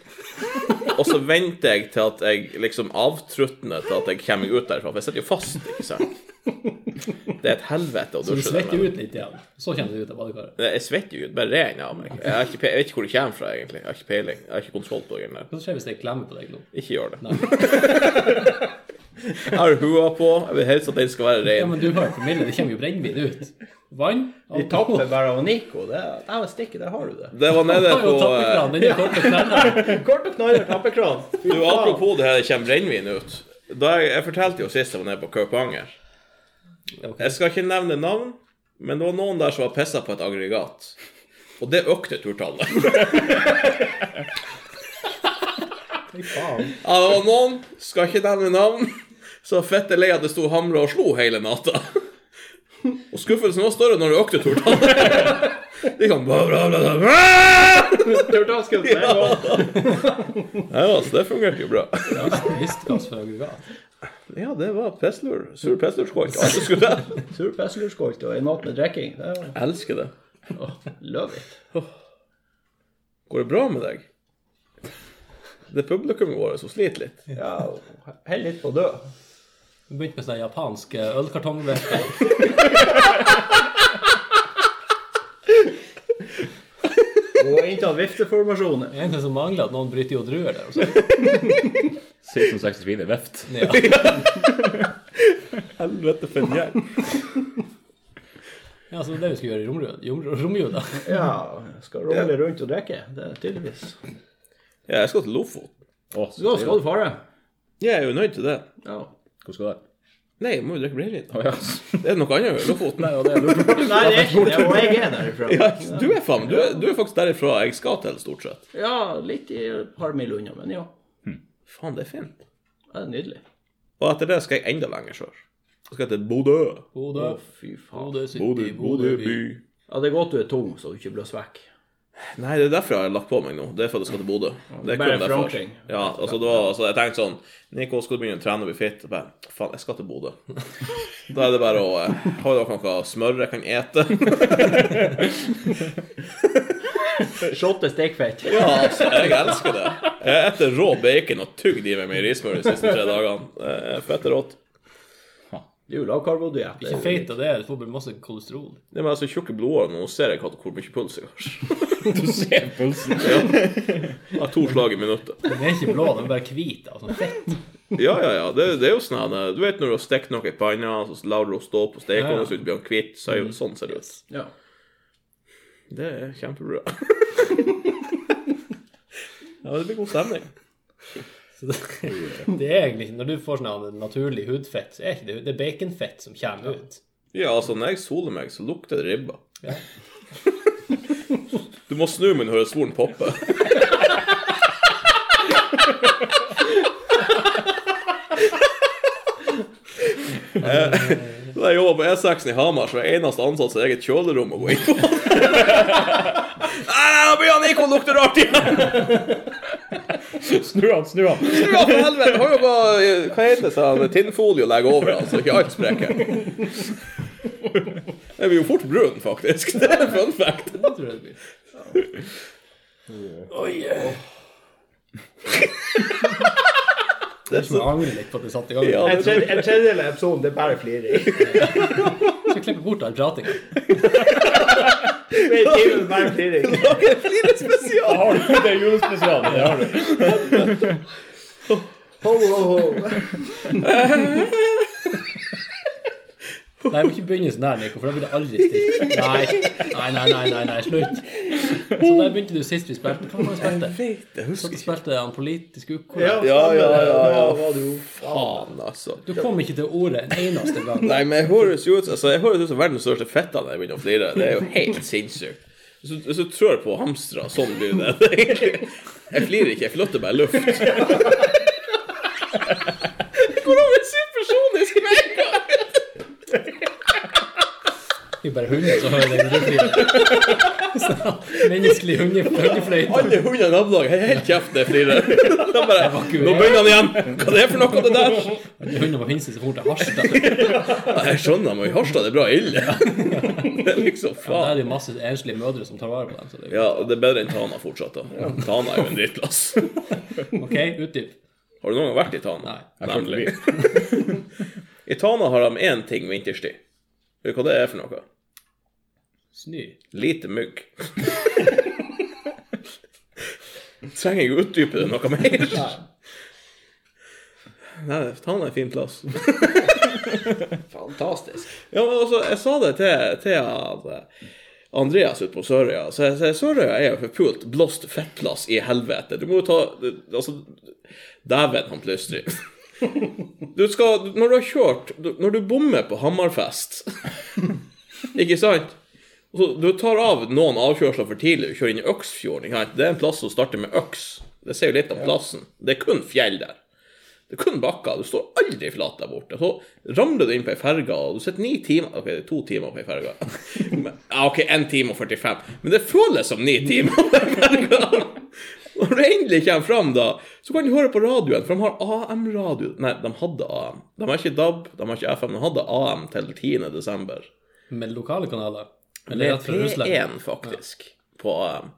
og så venter jeg til at jeg liksom avtrutner til at jeg kommer meg ut derfra, for jeg sitter jo fast, ikke sant? Det er et helvete å Du dusje der svetter med. ut litt igjen. Så kommer du ut av badekaret. Nei, Jeg svetter jo ut, bare regner av meg. Jeg, har ikke, pe- jeg vet ikke hvor det kommer fra, egentlig. Jeg har ikke peiling. Jeg har ikke kontroll på det. greiene der. Hva skjer hvis jeg klemmer på deg nå? Ikke gjør det. jeg har hua på. Jeg vil helst at den skal være Ja, ren. men du har jo promille, det kommer jo brennevin ut. Vann Vi tapper bare av Nico. Det er, det er stikket, der har du det. Det var nede på eh, på Kort og knaller tappekran. Fy du, faen. Apropos det her, det kommer brennevin ut. Da jeg, jeg fortalte jo sist jeg var nede på Kaupanger. Jeg skal ikke nevne navn, men det var noen der som var pissa på et aggregat. Og det økte turtallet. Ja, det var noen, skal ikke nevne navn, så fette lei at det sto hamra og slo hele natta. Og skuffelsen var større når det økte tortallet. De kom bla, bla, bla, bla. Turtleskaut med en gang. Ja, altså, det fungerte jo bra. Listgass fra aggregat. Ja, det var pesslur. Sur pesslurskåk. Alt det skulle til. Sur pesselurskolt og en natt med drikking. Det er- Jeg elsker det. Love it. Går det bra med deg? Det er publikummet vårt som sliter litt. Ja, og hell litt på å dø. Vi begynte med sånn japansk eh, ølkartongvete. Og inntatt vifteformasjoner. Det eneste som mangler, er at noen bryter jo druer der. og så- 1664 veft. Ja. Helvete, for en gjeng. Ja, så det er det vi skulle gjøre i romjula- jom- romjula. Ja, skal rulle rundt og drikke. Det er tydeligvis. Ja, jeg skal til Lofoten. Å, Da så skal trivelig. du fare. Jeg er jo nødt til det. Ja. Hvor skal du? Nei, jeg må jo drikke brennevin. Å ja. Det er noe annet enn Lofoten. Nei, ja, det er lurt. Nei, det er ikke det. Og jeg er derifra. Ja, du er faen, du er, du er faktisk derifra jeg skal til, stort sett. Ja, litt i et par mil unna, men ja. Faen, det er fint. Det er nydelig. Og etter det skal jeg enda lenger sør. Jeg skal til Bodø. Å, Bodø, fy faen. Bodø City, Bodø by. Ja, det er godt du er tung, så du ikke blåser vekk. Nei, det er derfor jeg har lagt på meg nå. Det er for at jeg skal til Bodø. Det er Bare kun derfor. forankring. Ja, altså, det var, altså, jeg tenkte sånn Nico, skal du begynne å trene og bli fit? Jeg bare, faen, jeg skal til Bodø. Da er det bare å eh, Har dere noe smør jeg kan ete? Shotte stekfett. Ja, altså, jeg elsker det. Jeg eter rå bacon og tugg de med meierismør de siste tre dagene. Det er Fette rått. Det er jo lavkarbodiett. Ikke feit av det, du får bare masse kolesterol. Det med altså tjukke blodårer nå ser jeg hva- hvor mye puls jeg har. Du ser pulsen. Jeg har to slag i minuttet. Den er ikke blå, den er bare hvit av sånn fett. Ja, ja, ja. Det, det er jo sånn her, Du vet når du har stekt noe i panna, så lar du henne stå på stekeovnen, så blir den hvit. Så er jo sånn ser det ut. Ja. Mm. Det er kjempebra. ja, det blir god stemning. Så det, det er egentlig ikke- Når du får sånn her naturlig hudfett, så er ikke det, det er baconfett som kommer ut. Ja, altså, når jeg soler meg, så lukter det ribba. du må snu meg når solen popper. Eh, Da jeg jobba på E6-en i Hamar, så var jeg eneste ansatt som eget kjølerom å gå inn på. Nei, nei, nå blir han Nico lukter rart igjen! Snu han, snu han. Ja, for helvete! Har jo bare eh, Hva heter det? Sånn, tinnfolie å legge over, altså. Ikke alt sprekker. Jeg blir jo fort brun, faktisk. Det er en fun fact. Det tror jeg det blir. Oi, eh. Det er som jeg angrer litt på at vi satte i gang. Ja, En det tror tredje- jeg. en tredjedel av episoden det er bare fliring. Jeg skal klippe bort all pratinga. Det er en time med bare fliring. Da har du det er julespesialen. Det har du. Ho, ho, ho. Nei, jeg må ikke begynne sånn der, Nico, for da blir det aldri stille. Nei, nei, nei, nei, nei, nei slutt. Så der begynte du sist vi spilte. Hva var det vi spilte? Jeg Så husker ikke. spilte han politisk ukorrekt. Ja, Ja, ja, ja, ja. Da var det jo Faen, altså. Du kom ikke til ordet en eneste gang. Nei, men jeg høres jo ut altså, jeg høres ut som verdens største fetta når jeg begynner å flire. Det er jo helt sinnssykt. Hvis du- hvis du trør på hamstra, sånn blir det. Det er egentlig- Jeg flirer ikke, jeg flytter bare luft. Hvordan blir supersonisk med en gang? Vi er bare hunder som hører den hundeflyet. Sånn Menneskelig hunde, hundefløyte. Alle hundene i nabolaget har helt kjeft når jeg flirer. De bare Nå begynner han igjen! Hva er det for noe, det der? Alle hunder må finne seg så fort til Harstad. Ja, jeg skjønner, men i Harstad er det bra ille. Det er liksom Der faen. er det jo masse enslige mødre som tar vare på dem. Så det er jo. Ja, og det er bedre enn Tana fortsatt, da. Tana er jo en drittplass. OK, utdyp. Har du noen gang vært i Tana? Nei. Nemlig. I Tana har de én ting vinterstid. Vet du hva det er for noe? Snø. Lite mygg. Trenger jeg å utdype det noe mer? Nei, Tana er en fin plass. fantastisk. Ja, men altså, jeg sa det til, til han, eh, Andreas ute på Sørøya. Så jeg sier Sørøya er jo forpult blåst fettplass i helvete. Du må jo ta du- Altså, dæven han plystrer. Du skal Når du har kjørt du- Når du bommer på Hammerfest, ikke sant? Så du tar av noen avkjørsler for tidlig og kjører inn i Øksfjorden. Ikke sant? Det er en plass som starter med øks. Det sier jo litt om plassen. Det er kun fjell der. Det er kun bakker. Du står aldri flat der borte. Så ramler du inn på ei ferge, og du sitter ni timer OK, det er to timer på ei ferge. Men- Ja, OK, én time og 45. Men det føles som ni timer på ei ferge. Når du endelig kommer fram, da, så kan du høre på radioen, for de har AM-radio. Nei, de hadde AM. De har ikke DAB, de har ikke FM. De hadde AM til 10. desember. Med lokale kanaler. Det Eller er rett fra Russland. P1, faktisk, på AM.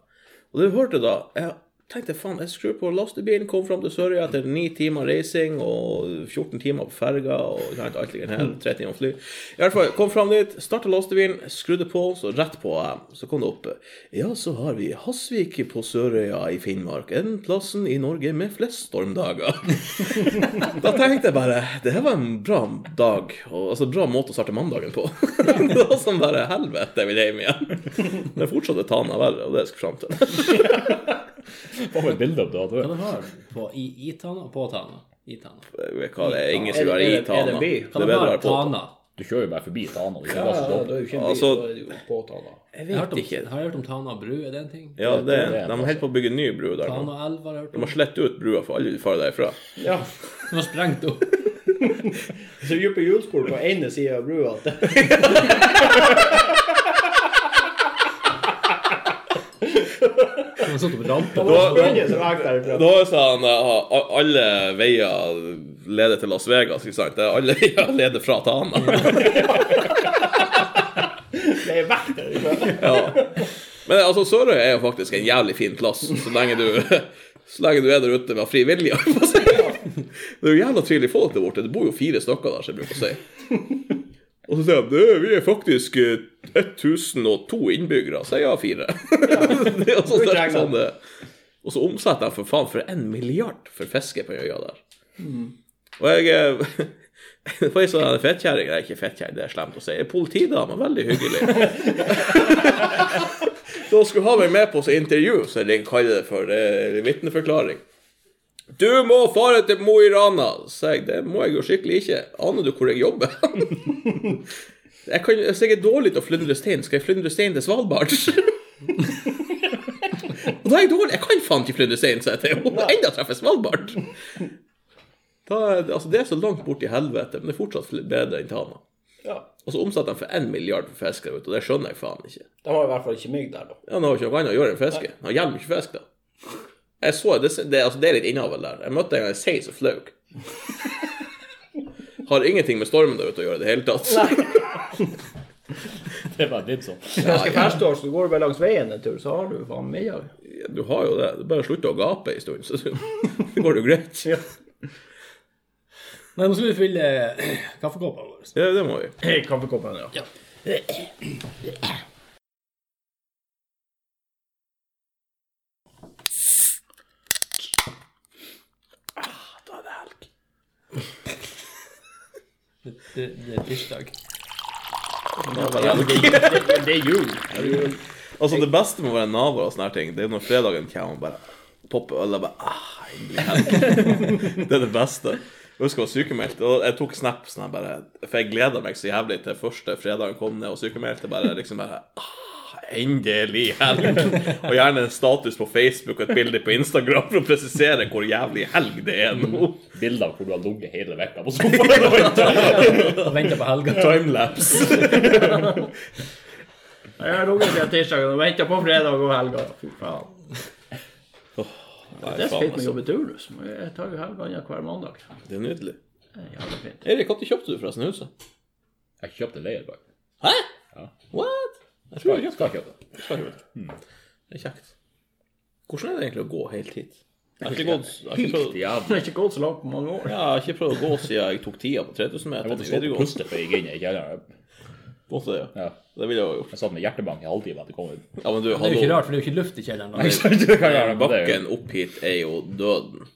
Og du hørte da Jeg tenkte faen, jeg skrur på lastebilen, kom fram til Sørøya etter ni timer reising og 14 timer på ferga og ikke sant, alt ligger her, tre timer fly. I hvert fall, kom fram dit, starta lastebilen, skrudde på, så rett på AM. Så kom det opp Ja, så har vi Hasvik på Sørøya i Finnmark, den plassen i Norge med flest stormdager. Da tenkte jeg bare Det her var en bra dag, og, altså bra måte å starte mandagen på. det var sånn bare Helvete, jeg vil hjem igjen. Men fortsatt er Tana verre, og det skal jeg fram til. Få en build-up, da. Hva Du. de har på i, i Tana og på Tana? I Tana. Jeg vet Hva det er, ingen som vil være Er det- i er det Tana. en by? Det er bedre Hva de å har være på. Tana? du kjører jo bare forbi Tana. Du Ja, ja, ja, det er jo ikke en bil, Altså- da er det jo påtale. Jeg Jeg har hørt vet om, ikke. har jeg hørt om Tana bru? Er det en ting? Ja, det, det er en de holder på å bygge en ny bru der nå. Tana elv har jeg hørt De om. har slett ut brua, for alle vil fare derifra. Ja. Den har sprengt opp. Så dype hjulspor på ene sida av brua. Det Den har satt opp rampe. var mange som gikk derifra. Da er sånn eh, a- Alle veier leder til Las Vegas, ikke sant? Det er Alle veier leder fra Tana. Det er vekk derifra. Ja. Men altså, Sørøya er jo faktisk en jævlig fin plass, så lenge du, så lenge du er der ute med fri vilje. holdt på å si. Det er jo jævla trivelige folk der borte. Det bor jo fire stykker der, som jeg bruker å si. Og så sier de «Nei, vi er faktisk eh, 1002 innbyggere, sier jeg fire. Det er jo sånn, det er sånn det. Og så omsetter de for faen for en milliard for fiske på øya der. Mm. Og jeg eh, det var ei sånn fettkjerring Nei, ikke fettkjerring, det er slemt å si. Ei politidame, veldig hyggelig. Da skulle ha meg med på så intervju, så jeg kaller det for eh, vitneforklaring. Du må fare til Mo i Rana, sa jeg. Det må jeg jo skikkelig ikke. Aner du hvor jeg jobber? Jeg kan, hvis jeg er dårlig til å flyndre stein, skal jeg flyndre stein til Svalbard? Og da er jeg dårlig. Jeg kan faen ikke flyndre stein, sa jeg til henne. Og Enda treffer jeg Svalbard. Da, er det- altså, det er så langt bort i helvete, men det er fortsatt bedre enn Tana. Ja. Og så omsetter de for én milliard for fisk der ute, og det skjønner jeg faen ikke. De har i hvert fall ikke mygg der, da. Ja, han har jo ikke noe annet å gjøre enn fiske. Han gjelder ikke fisk, da. Jeg så, det, det, altså, det er litt innavl der. Jeg møtte en gang en sei som fløy. Har ingenting med stormen der ute å gjøre i det hele tatt. Det er bare blitt sånn. Hvis det er ferskår, så går du bare langs veien en tur, så har du faen middag. Ja, Du har jo det. Du bare slutter å gape en stund, så så går det jo greit. Ja, Men nå skal vi fylle eh, kaffekoppene våre. det må vi. I kaffekoppen, ja. Det, det er tirsdag. Det er jul. Altså, det beste med å være naboer og sånne her ting, det er når fredagen kommer og bare popper øl og bare ah, endelig helg. Det er det beste. Jeg husker jeg var sykemeldt, og jeg tok snap sånn her bare For jeg gleda meg så jævlig til første fredagen kom ned og sykemeldte, bare liksom bare ah, Endelig helg! Og gjerne en status på Facebook og et bilde på Instagram for å presisere hvor jævlig helg det er nå. Bilder av hvor du har ligget hele vekka på sofaen. Og venter på helga. Timelapse. Jeg har ligget siden tirsdagen og venta på fredag og helga. Fy faen. Nei, Det er så faen, fint med å altså. jobbe turnus. men Jeg tar jo helga annet hver mandag. Det er nydelig. Det er jævlig fint. Erik, når kjøpte du forresten huset? Jeg kjøpte leierbag. Hæ? Ja. What? Jeg tror Skal, jeg kjøpte skal kjøpe. det. Skal kjøpe det. Det er kjekt. Hvordan er det egentlig å gå helt hit? Jeg har ikke gått jeg har ikke prøvd, Jævlig. Det har ikke gått så langt på mange år. ja, jeg har ikke prøvd å gå siden jeg tok tida på 3000 meter. Jeg måtte i stå og videregående. puste før jeg gikk inn i kjelleren. Måtte det, ja. Ja. Det ville jeg jo ha gjort. Jeg satt med hjertebank i halvtime etter covid. Ja, men du, Det er jo ikke hallo. rart, for det er jo ikke luft i kjelleren. da. Bakken. Bakken opp hit er jo døden.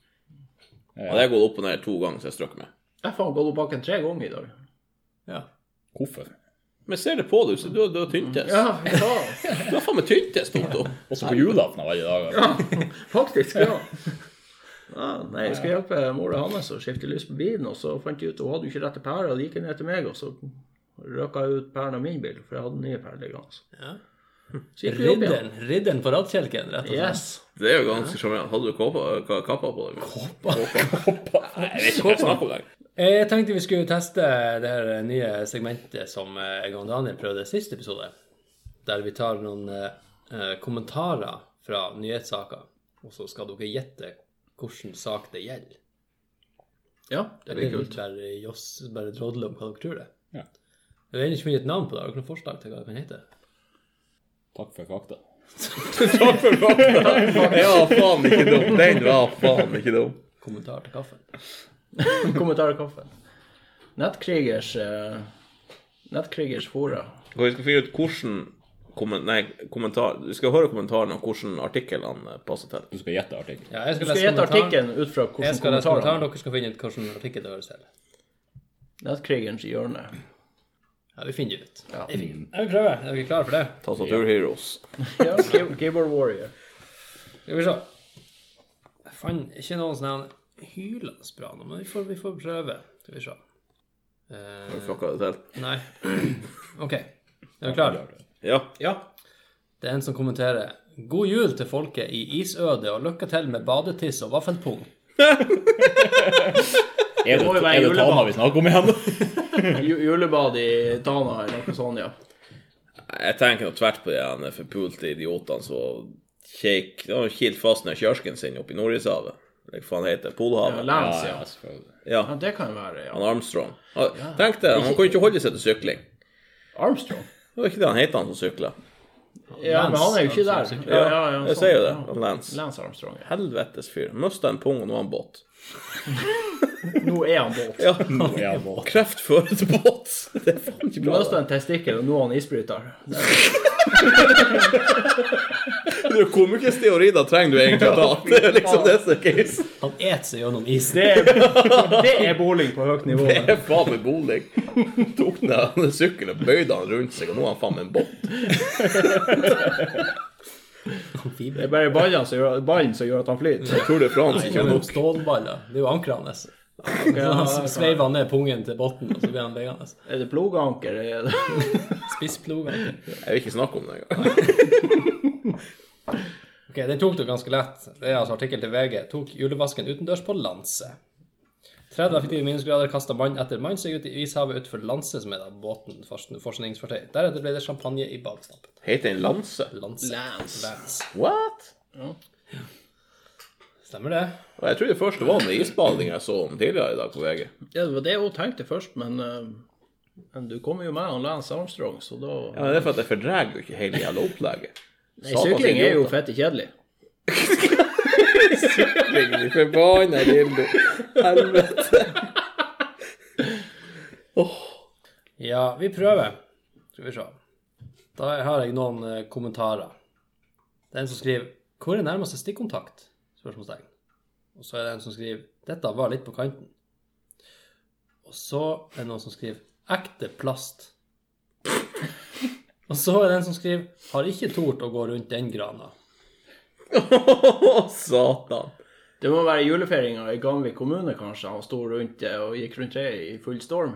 Ja. Hadde jeg gått opp og ned to ganger, så jeg strøk meg. Jeg har faen gått opp bakken tre ganger i dag. Ja. Hvorfor? Men jeg ser det på deg, så du, du har tyntes. Ja, faen. Du har faen meg tyntes, Toto. Også på julaften av alle dager. Faktisk, ja. ja nei, jeg skal hjelpe mora hans å skifte lys på bilen, og så fant jeg ut hun hadde jo ikke rette pærer, og det gikk ned til meg, og så røkka jeg ut pæren av min bil, for jeg hadde nye pærer liggende. Ja. Så gikk vi opp igjen. Ridderen, ridderen på rattkjelken, rett og slett. Yes. Det er jo ganske sjarmerende. Hadde du kåpa, ka- kappa på deg? Kåpa? Nei, jeg vet ikke hva jeg snakker om. jeg. Jeg tenkte vi skulle teste det her nye segmentet som eh, jeg og Daniel prøvde i siste episode. Der vi tar noen eh, kommentarer fra nyhetssaker, og så skal dere gjette hvilken sak det gjelder. Ja, det blir kult. Bare, Joss, bare drodle om hva dere tror det. Ja. Jeg har ennå ikke funnet et navn på det. Har dere noen forslag til hva det kan hete? Takk for fakta. Takk for kaffen. Ja, faen ikke dum. Den var faen ikke dum. Kommentar til kaffen. Kommentar i kaffen. Nettkrigers eh, Nettkrigers fora. Og vi skal finne ut hvordan kommen- nei, kommentar, Vi skal høre kommentarene og hvordan artiklene passer til. Du skal gjette artikkelen. Ja, jeg skal Du skal lese gjette kommentaren. artikkelen ut fra Jeg hvordan skal lese kommentaren. kommentaren Dere skal finne ut hvilken artikkel det høres til. Nettkrigers hjørne. Ja, vi finner det ut. Ja. Vi finner- Ja, vi prøver. Er dere klare for det? Tastaturheroes. Ja, key- Keyboard Warrior. Skal vi se. Jeg fant ikke noen sånn her hylende bra nå, men vi får, vi får prøve. Skal vi se. Eh, Fucka det til. nei. OK. Er du klar? Ja. Ja. Det er en som kommenterer. God jul til folket i isødet, og lykke til med badetiss og vaffelpung. Er det, må jo være er det juleball. Tana vi snakker om igjen? Ju- Julebad i Tana eller noe sånt, ja. Jeg tenker noe tvert på de her forpulte idiotene som kjekk- de har kilt fast ned kjørsken sin oppe i Nordishavet. Eller hva faen heter det? Polhavet? Lance, ja. selvfølgelig. ja. Ja. Det kan jo være, ja. Han Armstrong. Han- Tenk det, han kunne ikke holde seg til sykling. Armstrong. Det var ikke det han het, han som sykla. Ja, men han er jo ikke der. Armstrong, Ja, ja, ja, jeg sånn, sier jo ja. det. Lance. Lance Armstrong, ja. Helvetes fyr. Mista en pung, og nå er han båt. Nå er han båt. Ja. Ja, må- Kreftføret båt. Det er faen ikke Du bra. mista en testikkel, og nå er han isbryter. Du, Hvor mye steorider trenger du egentlig å ta? Det er liksom det som er case. Han eter seg gjennom isen. Det er, det er bowling på høyt nivå. Det er faen meg bolig. Tok ned han en sykkel og bøyde han rundt seg, og nå er han faen meg en båt. Det Amfibie. er bare ballene som gjør, ballen som gjør at han flyter. Tour de France ikke nok. Stålballer. Det er jo ankrene. hans. Ja, Så sveiver han ned pungen til bunnen, og så blir han liggende. er det ploganker? Er det... Spissploger. Jeg vil ikke snakke om det engang. Ok, Den tok du ganske lett. Det er altså artikkel til VG. Tok julevasken utendørs på Lanse. 30 effektive minusgrader kasta mann etter mann seg ut i ishavet utenfor Lanse, som er da båten forskn- forskningsfartøy. Deretter ble det champagne i bakstampen. Heter den Lanse? Lanse. Lance. Lance. What? Stemmer det? Og jeg trodde først det var den isbadinga jeg så om tidligere i dag på VG. Ja, det var det jeg også tenkte først, men, eh, men du kommer jo med han Lance Armstrong, så da Ja, men Det er for at jeg fordreger jo ikke hele jævla opplegget. Nei, sykling er jo fette kjedelig. Sykling, forbanna dildo. Helvete. Ja, vi prøver. Skal vi se. Da har jeg noen eh, kommentarer. Det er en som skriver 'Hvor er nærmeste stikkontakt?' spørsmålstegn. Og så er det en som skriver 'Dette var litt på kanten'. Og så er det noen som skriver 'Ekte plast'. Og så er det en som skriver 'Har ikke tort å gå rundt den grana'. Å, satan. Det må være julefeiringa i Gamvik kommune, kanskje. Han sto rundt eh, og gikk rundt treet i full storm.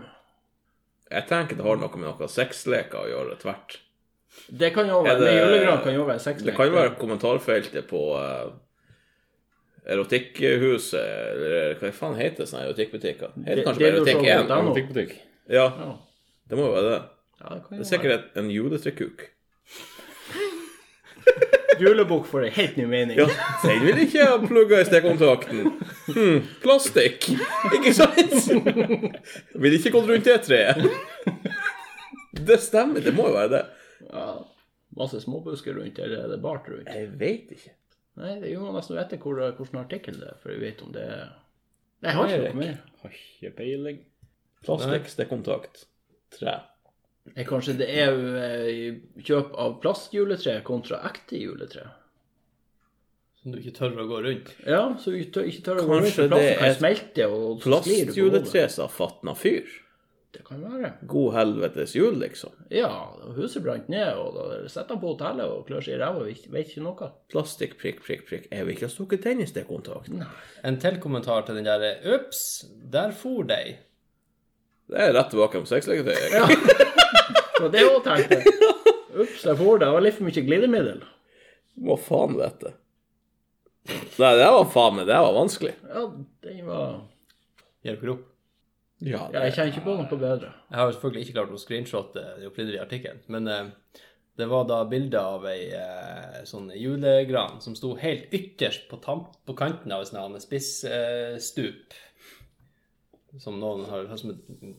Jeg tenker det har noe med noen sexleker å gjøre. Tvert. Det kan jo Er være. det- Det, julegran kan jo være Det sexlek. kan jo være kommentarfeltet på eh, Erotikkhuset, eller hva faen heter sånne erotikkbutikker? Heter kanskje Det- det bare er jo Erotikk sånn- 1? Butikkbutikk. Ja, Ja, det må jo være det. ja, det kan Det jo er være. sikkert et- en juletrekuk. Julebukk får en helt ny mening. Ja, den vil ikke jeg plugge i stikkontakten. Hm, plastikk. Ikke sant? Vil ikke gått rundt det treet. Det stemmer, det må jo være det. Ja, masse småbusker rundt, eller er det bart rundt? Jeg veit ikke. Nei, det må nesten vite hvor, hvordan artikkel det er, for jeg vet om det er Nei, jeg har ikke noe mer. Har ikke peiling. Plastikk, stikkontakt, tre. Nei, kanskje det er eh, kjøp av plastjuletre kontra ekte juletre. Som du ikke tør å gå rundt. Ja, så vi tør, ikke tør å gå rundt, Kanskje for plasten det er kan smelte og sklir på hodet. Plastjuletre sa fatna fyr. Det kan være. God helvetes jul, liksom. Ja, og huset brant ned, og da sitter han på hotellet og klør seg i ræva og vet vet ikke noe. Plastikk, prikk, prikk, prikk. Jeg vil ikke ha stukket den i stikkontakten. En til kommentar til den derre 'Ups, der for dei'. Det er rett tilbake om sexleketøy. Så det òg tenkte jeg. Ups, jeg får det. Det var litt for mye glidemiddel. Hva faen vet jeg? Nei, det var faen meg, det var vanskelig. Ja, den var Gir dere opp? Ja, ja, Jeg kjenner ikke på noe bedre. Jeg har jo selvfølgelig ikke klart å screenshotte det opprinnelige artikkelen, men eh, det var da bilde av ei eh, sånn julegran som sto helt ytterst på, tamp, på kanten av sånn et sånt her spissstup, eh, som noen har har som et mm,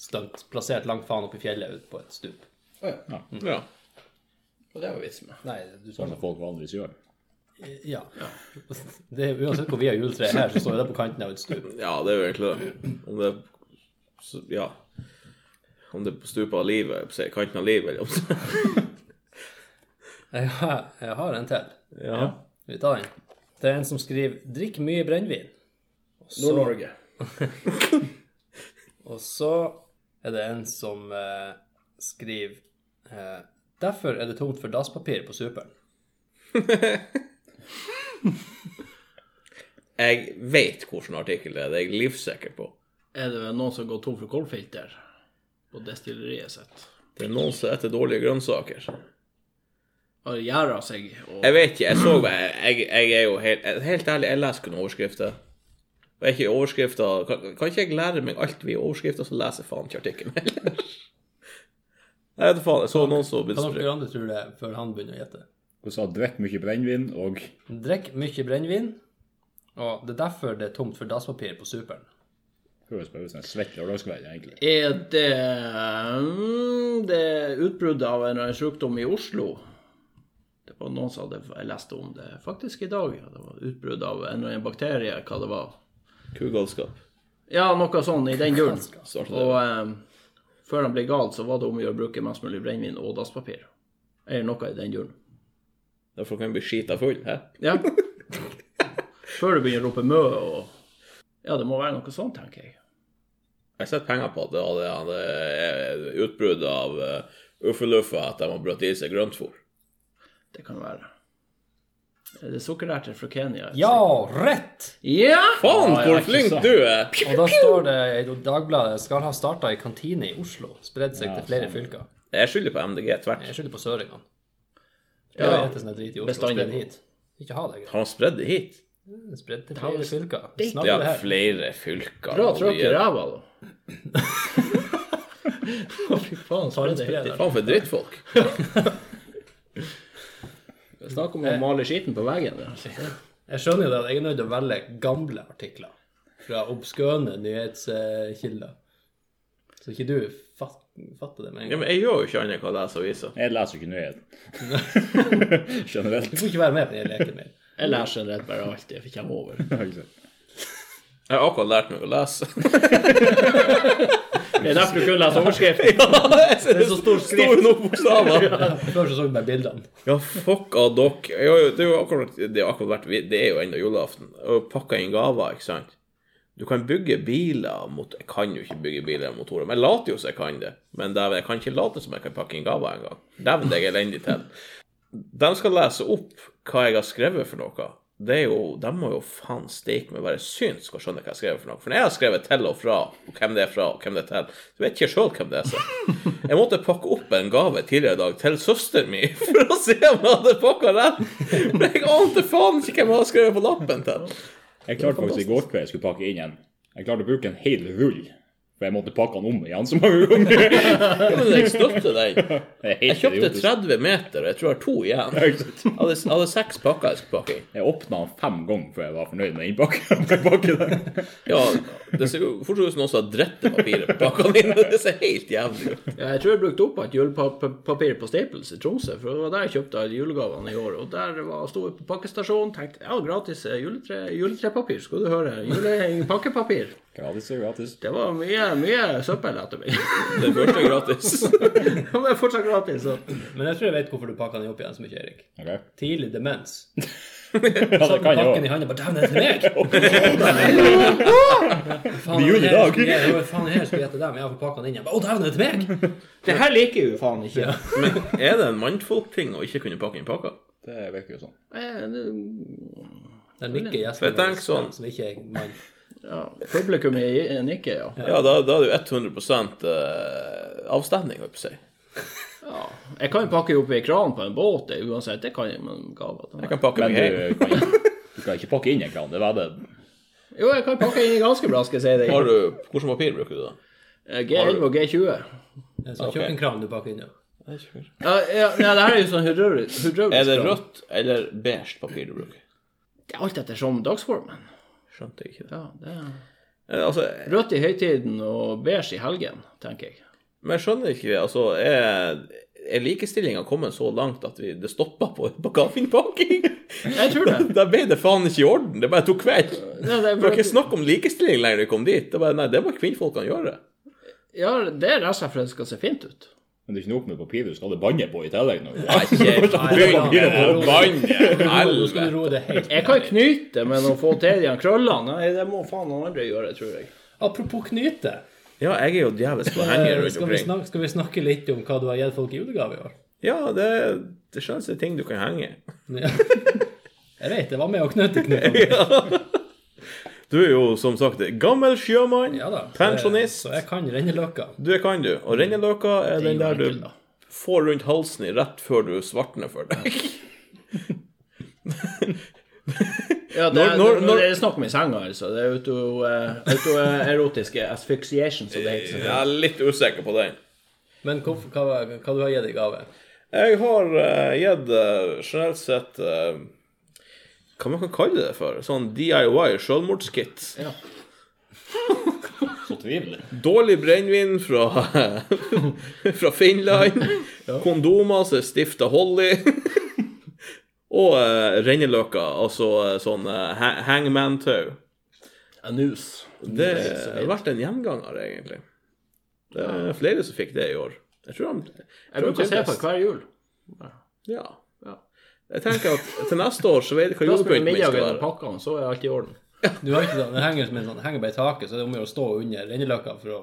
stunt plassert langt faen opp i fjellet ut på et stup. ja. Og det var vitsen med. Nei, du Sånn som folk vanligvis gjør. Ja. Det, er- uansett hvor vi har juletre her, så står jo det på kanten av et stup. Ja, det er jo egentlig det. Om det så- Ja. Om det er på stupet av livet, jeg på å si, kanten av livet, eller om så- Jeg har, jeg har en til. Ja. Vi tar den. Det er en som skriver 'drikk mye brennevin'. Og så- Nord-Norge. Og så er det en som eh, skriver eh, Derfor er det tomt for dasspapir på superen. Jeg vet hvilken artikkel det er, det er jeg livsikker på. Er det vel noen som går tom for koldfilter på destilleriet sitt? Det er noen som etter dårlige grønnsaker. Har gjerda seg og Jeg vet ikke, jeg så bare Jeg, jeg er jo helt, helt ærlig, jeg leser kun overskrifter. Og er ikke overskrifter kan, kan ikke jeg lære meg alt vi overskrifter, så leser jeg faen ikke artikkelen heller. Nei, vet du faen. Jeg så noen som Hva dere begynte andre tror det er før han begynner å gjette? Hun sa drikk mye brennevin og Drikk mye brennevin, og det er derfor det er tomt for dasspapir på superen. høres bare ut som en svett lørdagskveld, egentlig. Er det mm, det er utbruddet av en eller annen sykdom i Oslo? Det var noen som hadde jeg leste om det faktisk i dag. ja. Det var utbrudd av en eller annen bakterie, hva det var. Kugalskap. Ja, noe sånn i den duren. Startet Og det. eh, før han ble gal, så var det om å gjøre å bruke mest mulig brennevin og dasspapir. Eller noe i den duren. Derfor kan jeg bli skita full. Hæ? Ja. Før du begynner å rope mø og Ja, det må være noe sånt, tenker jeg. Jeg setter penger på at det eh, hadde, hadde eh, utbrudd av uh, uffeluffa at de har brøt i seg grøntfôr. Det kan være. Er det sukkererter fra Kenya? Ja, rett! ja! Faen, Ja, hvor jeg er ikke flink så- du er! Pju! Og da står det i Dagbladet skal ha starta i kantine i Oslo. Spredd seg til flere fylker. Jeg skylder på MDG tvert. Jeg skylder på søringene. Ja. Ja, sånn drit i Oslo. Bestandig. Spredd hit. Ikke ha det greit. Har han spredd det hit? Spredd til flere fylker. Det Snakker er det her. flere fylker. Bra og tråkk i de er- ræva, da. Å, Fy faen, så er det Farmspreder. helt Faen for drittfolk. Snakk om å male skitten på veggen. Ja. Jeg skjønner jo det at jeg er nødt til å velge gamle artikler fra obskøne nyhetskilder. Så ikke du fat, fatter det med en Ja, gang. men jeg gjør jo ikke annet enn å lese aviser. Jeg leser jo ikke nyheter. Generelt. Du får ikke være med på den leken min. Jeg lærer generelt bare alt jeg kommer over. Jeg har akkurat lært meg å lese. Det er derfor du kunne lese overskriften. det er så stor skrift. Store nok bokstaver. Før så så vi bare bildene. Ja, fuck av dere. Jeg har jo- Det er jo akkurat, det er akkurat vært, det er jo ennå julaften. Og pakka inn gaver, ikke sant. Du kan bygge biler mot Jeg kan jo ikke bygge biler og motorer, men jeg later jo som jeg kan det. Men dæven, jeg kan ikke late som jeg kan pakke inn gaver engang. Dæven, det er jeg elendig til. De skal lese opp hva jeg har skrevet for noe. Det er jo, De må jo faen steike meg være syns skal skjønne hva jeg har skrevet for noe. For når jeg har skrevet til og fra, og hvem det er fra, og hvem det er til, så vet ikke jeg sjøl hvem det er. Så. Jeg måtte pakke opp en gave tidligere i dag til søsteren min for å se om jeg hadde pakka rett. Men jeg ante faen ikke hvem jeg hadde skrevet på lappen til. Jeg klarte faktisk i går kveld jeg skulle pakke inn en Jeg klarte å bruke en hel rull. For jeg måtte pakke den om igjen så mange ganger. Ja, men jeg støtter den. Det er Jeg helt kjøpte idiotisk. 30 meter, og jeg tror jeg har to igjen. Jeg hadde, jeg hadde seks pakker jeg skulle pakke inn. Jeg åpna den fem ganger før jeg var fornøyd med innpakningen. Ja, det ser jo fortsatt ut som noen som har dritt det papiret på pakkene mine. Det ser helt jævlig ut. Ja, jeg tror jeg brukte opp et julepapir på Staples i Tromsø, for det var der jeg kjøpte alle julegavene i år. Og der var, sto jeg på pakkestasjonen tenkte ja, gratis eh, juletre, juletrepapir, skal du høre. Jule, pakkepapir. Gratis er gratis. Det var mye, mye søppel etter meg. Det første er gratis. Men det er fortsatt gratis. Så. Men jeg tror jeg vet hvorfor du pakka den opp igjen så mye, Erik. Ok. Ja, Tidlig demens. det kan jeg Pakken i òg. handa bare Dæven, det er til meg! Faen, Det gjorde her i dag. skulle jeg- det var Faen, her skulle jeg til dem. Jeg får pakka den inn igjen. Å, dæven, det er til meg! Det her liker jo faen ikke. Men er det en mannfolk-ting å ikke kunne pakke inn pakker? Det virker jo sånn. Eh, det- Den nikker For jeg gjesten tenker sånn. vår, som ikke er mann. Ja, publikum i- nikker, ja. Ja, da, da er det jo 100 eh, avstemning, holdt jeg på å si. ja. Jeg kan jo pakke opp i kran på en båt, det, uansett. Det kan jeg, men gaver til Jeg meg. kan pakke Men meg hjem. du kan, ikke, du kan ikke pakke inn en kran. Det var det. Jo, jeg kan pakke inn i ganske bra, skal jeg si deg. Har du, Hvilket papir bruker du, da? Eh, G11 og G20. Det er sånn kjøkkenkran du pakker inn i. Ja, ja, nei, det her er jo sånn hydraulisk hydraulisk Er det kran. rødt eller beige papir du bruker? Det er alt etter som dagsformen. Skjønte jeg ikke det. Ja, det er... Eh, Altså, Rødt i høytiden og beige i helgen, tenker jeg. men jeg skjønner ikke det. Altså, er, er likestillinga kommet så langt at vi, det stoppa på, på kaffeinnpakking? Jeg tror det. Da ble det faen ikke i orden. Det bare tok kveld. Ja, det, Det var er, ikke snakk om likestilling lenger da vi kom dit. Det var, nei, det må kvinnfolkene gjøre. ja, det er rett og slett for at det skal se fint ut. Men det er ikke nok med papir, du skal ha det bannet på i tillegg. nå. Begynn å banne! Nå skal du Helvete! roe det helt Jeg kan knyte, men å få til de her krøllene, nei, det må faen noen andre gjøre, tror jeg. Apropos knyte. Ja, jeg er jo djevelsk forhenger eh, rundt Skal vi, omkring. snakke, skal vi snakke litt om hva du har gitt folk i julegave i år? Ja, det, det skjønnes det er ting du kan henge. Ja. Jeg vet, jeg var med og knøtte knutene. Du er jo som sagt gammel sjømann, Ja da. Eh, pensjonist. Så Mm. jeg kan renneløka. Du det kan du. Og renneløka er den jo der enkelt, du da. får rundt halsen i rett før du svartner for deg. Ja, det, Når- er- når- når- det er snakk om i senga, altså. Det er auto- eh, autoerotiske asphyxiation, som det heter. Jeg er litt usikker på den. Men hva, hva, hva du har gitt i gave? Jeg har eh, gitt eh, generelt sett eh, Hva man kan kalle det for? Sånn DIY selvmordskit. Så tvivl. Dårlig brennevin fra, fra Finland. Kondomer som er stift av Holly. Og eh, renneløkker, altså eh, sånn eh, ha- hangman-tau. Anus. Det har vært en gjenganger, egentlig. Det er flere som fikk det i år. Jeg tror han Jeg bruker å se på det hver jul. Ja. Ja. Jeg tenker at til neste år så vet jeg hva Da spiser julepynten min skal middagen og være. pakkene, så er alt i orden. Du har ikke sånn, Den henger som en sånn, henger bare i taket, så det er om å gjøre å stå under renneløka for å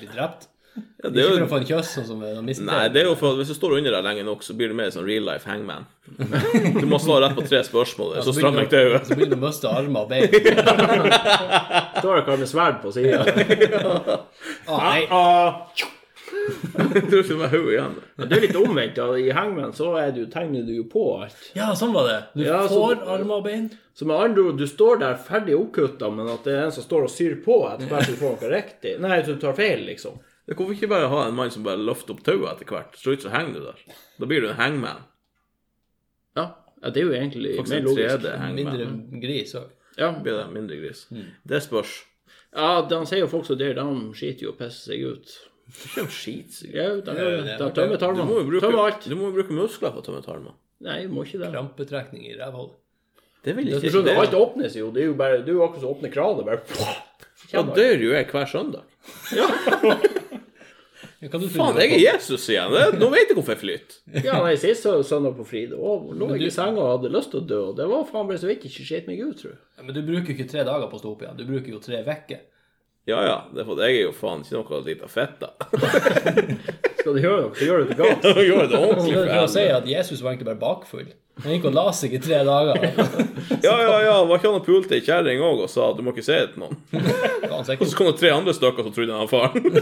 bli drept. Ja, det Ikke er for jo, å få en kjøss, sånn som vi har mistet. nei, det er jo for at hvis du står under deg lenge nok, så blir du mer sånn real life hangman. Du må svare rett på tre spørsmål, så strammer jeg begynner du- tauet. Så begynner du å miste armer og bein. Da har dere med sverd på sida. Ah, nei. Jeg tror ikke det var hodet igjen. Det er litt omvendt. da. I hangman så er du, tegner du jo på alt. Ja, sånn var det. Du Ja, får så- armer og bein. Så med andre ord, du står der ferdig oppkutta, men at det er en som står og syr på etter hvert så du får noe riktig. Nei, så du tar feil, liksom. Ja, Hvorfor ikke bare ha en mann som bare løfter opp tauet etter hvert? Så ut så henger du der. Da blir du en hangman. Ja, ja det er jo egentlig Faktisk mer en logisk. 3D-hangman. Mindre gris òg. Ja, Blir det mindre gris. Det spørs. ja de sier jo folk som dør, de skiter jo og pisser seg ut. Ikke om skit. sikkert. Ja, de Ja, gjør jo det det. er De artig. tømmer Du må jo tarmene. bruke, Tømmer alt. du må jo bruke muskler for å tømme tarmer. Nei, du må ikke det. Krampetrekning i rævhold. Det vil Du ikke skjønner, alt det. åpnes jo. Det er jo bare, det er jo akkurat som å åpne kranen. Bare Da dør jo jeg hver søndag. Ja, hva du Faen, trodde jeg du er Jesus igjen. Det- Nå vet jeg hvorfor jeg flyter. Ja, nei, sist sø- søndag på Fride og lå jeg i senga og hadde lyst til å dø. og Det var faen bare så vidt jeg ikke skjøt meg ut, tror jeg. på? Men du bruker jo ikke tre dager på å stå opp igjen. Du bruker jo tre uker. Ja ja, det er for at jeg er jo faen ikke noe lita fitte. Skal du gjøre noe, så gjør du det galt. Jeg gjør det ordentlig Det for er å si helvete. at Jesus var egentlig bare bakfull. Han gikk og la seg i tre dager. Ja ja ja, var ikke han og pulte ei kjerring òg og sa at du må ikke si det til noen? Faen, Og sikkert. så kom det tre andre stykker som trodde han var faren.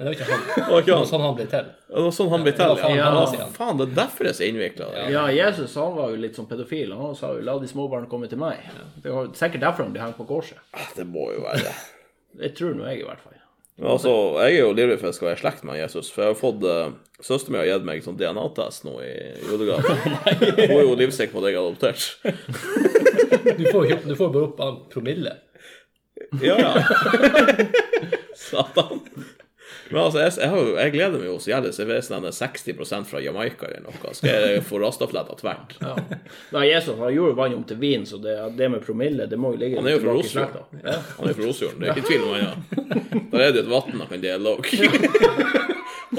Det Men det var ikke han. var ikke Det var han. sånn han ble til. Det var sånn han ble til. faen Ja, hans ja, igjen. faen, det er derfor jeg er så innvikla. Ja, Jesus han var jo litt sånn pedofil. Han sa jo 'la de små barn komme til meg'. Det var sikkert derfor han ble hengt på korset. Det må jo være det. Det tror nå jeg, i hvert fall. Altså, jeg er jo livredd for at jeg skal være i slekt med Jesus, for jeg har fått uh, Søsteren min har gitt meg sånn DNA-test nå i julegave. Hun er jo livsikker på at jeg er adoptert. Du får, jo ikke, du får bare opp en promille. Ja, ja. Satan. Men altså, jeg, jeg, har, jo- jeg gleder meg jo så jævlig til jeg vet sånn at det er 60 fra Jamaica eller noe. Skal jeg få rastafletter tvert? Ja. Nei, Jesus han gjorde vann om til vin, så det, det med promille det må jo ligge Han er jo fra tilbake i Rosfjorden. slekta. Ja. Han er jo fra Rosfjorden, det er ikke tvil om han er. Der er det jo et vann han kan dele òg.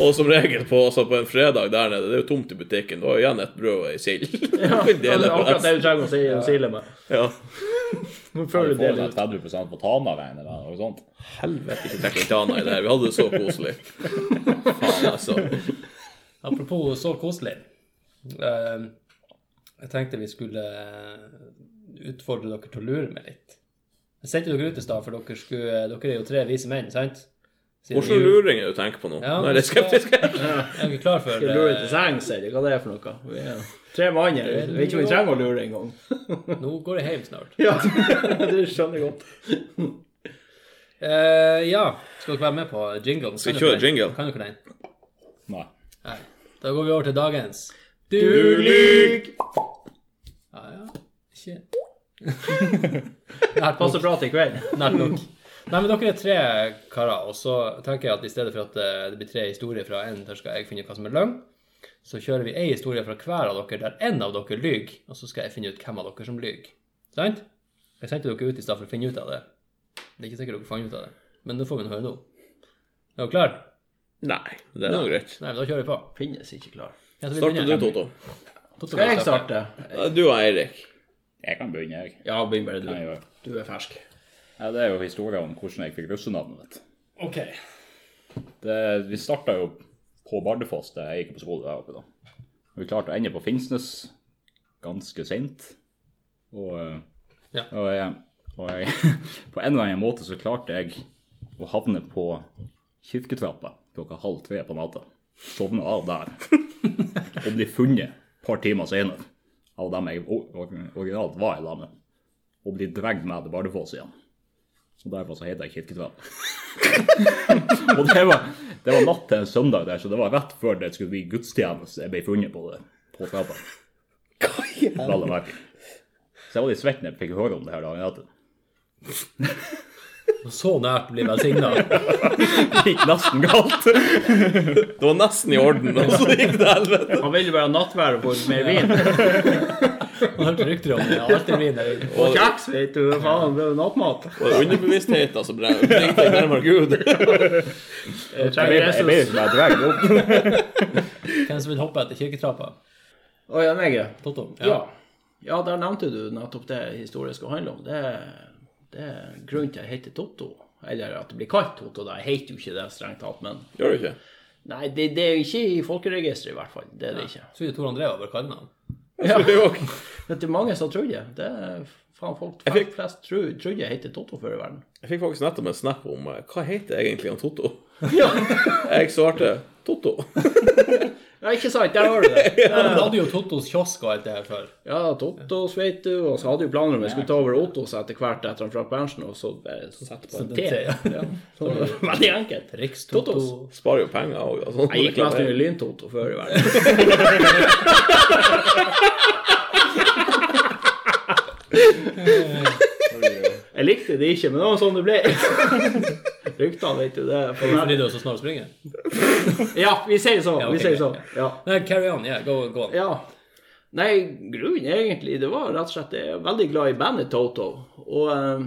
Og som regel på, altså på en fredag der nede, det er jo tomt i butikken. Da er igjen et brød og ei sild. Ja, Ja, det er akkurat det du trenger å si, å sile med. ja. Nå føler Du du får vel det litt. 30 på Tanaveien eller noe sånt. Helvete, ikke trekk litt annet i det her. Vi hadde det så koselig. Faen, altså. Apropos så koselig. Eh, Jeg tenkte vi skulle eh, utfordre dere til å lure meg litt. Jeg sendte dere ut i stad, for dere, skulle, eh, dere er jo tre vise menn, sant? Siden Hvilke jul- luringer du tenker på nå? Ja, Nå er jeg skal- skeptisk. Er dere klar for Skal lure til eh, sengs, eller hva det er for noe? Vi er tre mann her. Jeg vet ikke om vi trenger å lure engang. eh, Nå går jeg hjem snart. Ja, det skjønner jeg godt. Eh, ja, skal dere være med på jinglen? Skal vi Kan dere kjøre den? jingle? Kan dere den? Nei. Nei. Da går vi over til dagens. Du, Ja, ja. Ikke Nært nok. Passer bra til i kveld. Nært nok. Nei, men dere er tre karer, og så tenker jeg at i stedet for at eh, det blir tre historier fra én, der skal jeg finne ut hva som er løgn, så kjører vi ei historie fra hver av dere der én av dere lyver, og så skal jeg finne ut hvem av dere som lyver. Sant? Jeg sendte dere ut i stad for å finne ut av det. Det er ikke sikkert dere fant ut av det, men det får vi nå høre nå. Er dere klare? Nei, det er nå greit. Nei, men da kjører vi på. Finnes ikke klar. Jeg tror vi Starter du, begynner. Toto? Toto Skal jeg starter. starte? Du og Eirik. Jeg kan begynne, jeg. Ja, begynn bare Nei, du. jeg. Du er fersk. Ja, det er jo historien om hvordan jeg fikk russenavnet mitt. Ok. Det, vi starta jo på Bardufoss da jeg gikk på skole der oppe. da. Vi klarte å ende på Finnsnes ganske seint. Og, eh, Ja. og, jeg, og jeg, på en eller annen måte så klarte jeg å havne på kirketrappa klokka halv tre på natta. Sovne av der. Og bli funnet et par timer senere av dem jeg o- o- originalt var i lag med. Og bli dratt med til Bardufoss igjen. Så derfor så heter jeg Kirketrappa. Og det var, det var natt til en søndag der, så det var rett før det skulle bli gudstjeneste jeg ble funnet på det på trappa. Vel å merke. Så jeg var litt svett når jeg fikk høre om det her dagen etter. Så nært blir velsigna. Det gikk nesten galt. Det var nesten i orden, og så gikk det helvete. Han vil jo være nattvære på mer vin. Man hørte rykter om det. Alltid blir det. Og kjeks, vet du. Faen, det er jo nattmat. Og underbevisstheten som bringte deg nærmere Gud. Jeg Jeg ble- trenger Jeg ble Jesus. liksom bare dratt opp. Hvem som vil hoppe etter kirketrappa? Å ja, meg, ja. Totto? Ja. ja, der nevnte du nettopp det historien skal handle om. Det, det er grunnen til at jeg heter Totto. Eller at det blir kalt Toto. da. Jeg heter jo ikke det strengt tatt, men Gjør du ikke? Nei, det, det er jo ikke i folkeregisteret i hvert fall. Det er det ikke. Jeg trodde Tor André var bare kallenavn. Ja. Det er jo ok. Men det er mange som tror det. Det er faen folk Jeg fikk- flest tror, trodde jeg heter Toto før i verden. Jeg fikk faktisk nettopp en snap om eh, hva heter egentlig han Totto. Ja, Jeg svarte Totto. ikke sant? Der har du det. Men hadde jo Tottos kiosk og alt det her før. Ja, Tottos vet du, og så hadde jo planer om jeg skulle ta over Ottos etter hvert etter han Frank Berntsen, og så bare sette på en Sette T. en Ja, så det var Veldig enkelt. Rikstotto. Tottos. Sparer jo penger altså. og og sånt. Jeg gikk mest under Lyn-Toto før i verden. Jeg likte det ikke, men det var sånn det ble. Ryktene, vet du det. er på nett. Fordi du er så snar å springe? Ja, vi sier sånn. Ja, ok, Vi sier greit, sånn. Ja. Nei, carry on. Yeah, go, go on. Ja. Nei, grunnen egentlig, det var rett og slett Jeg er veldig glad i bandet Toto. Og eh,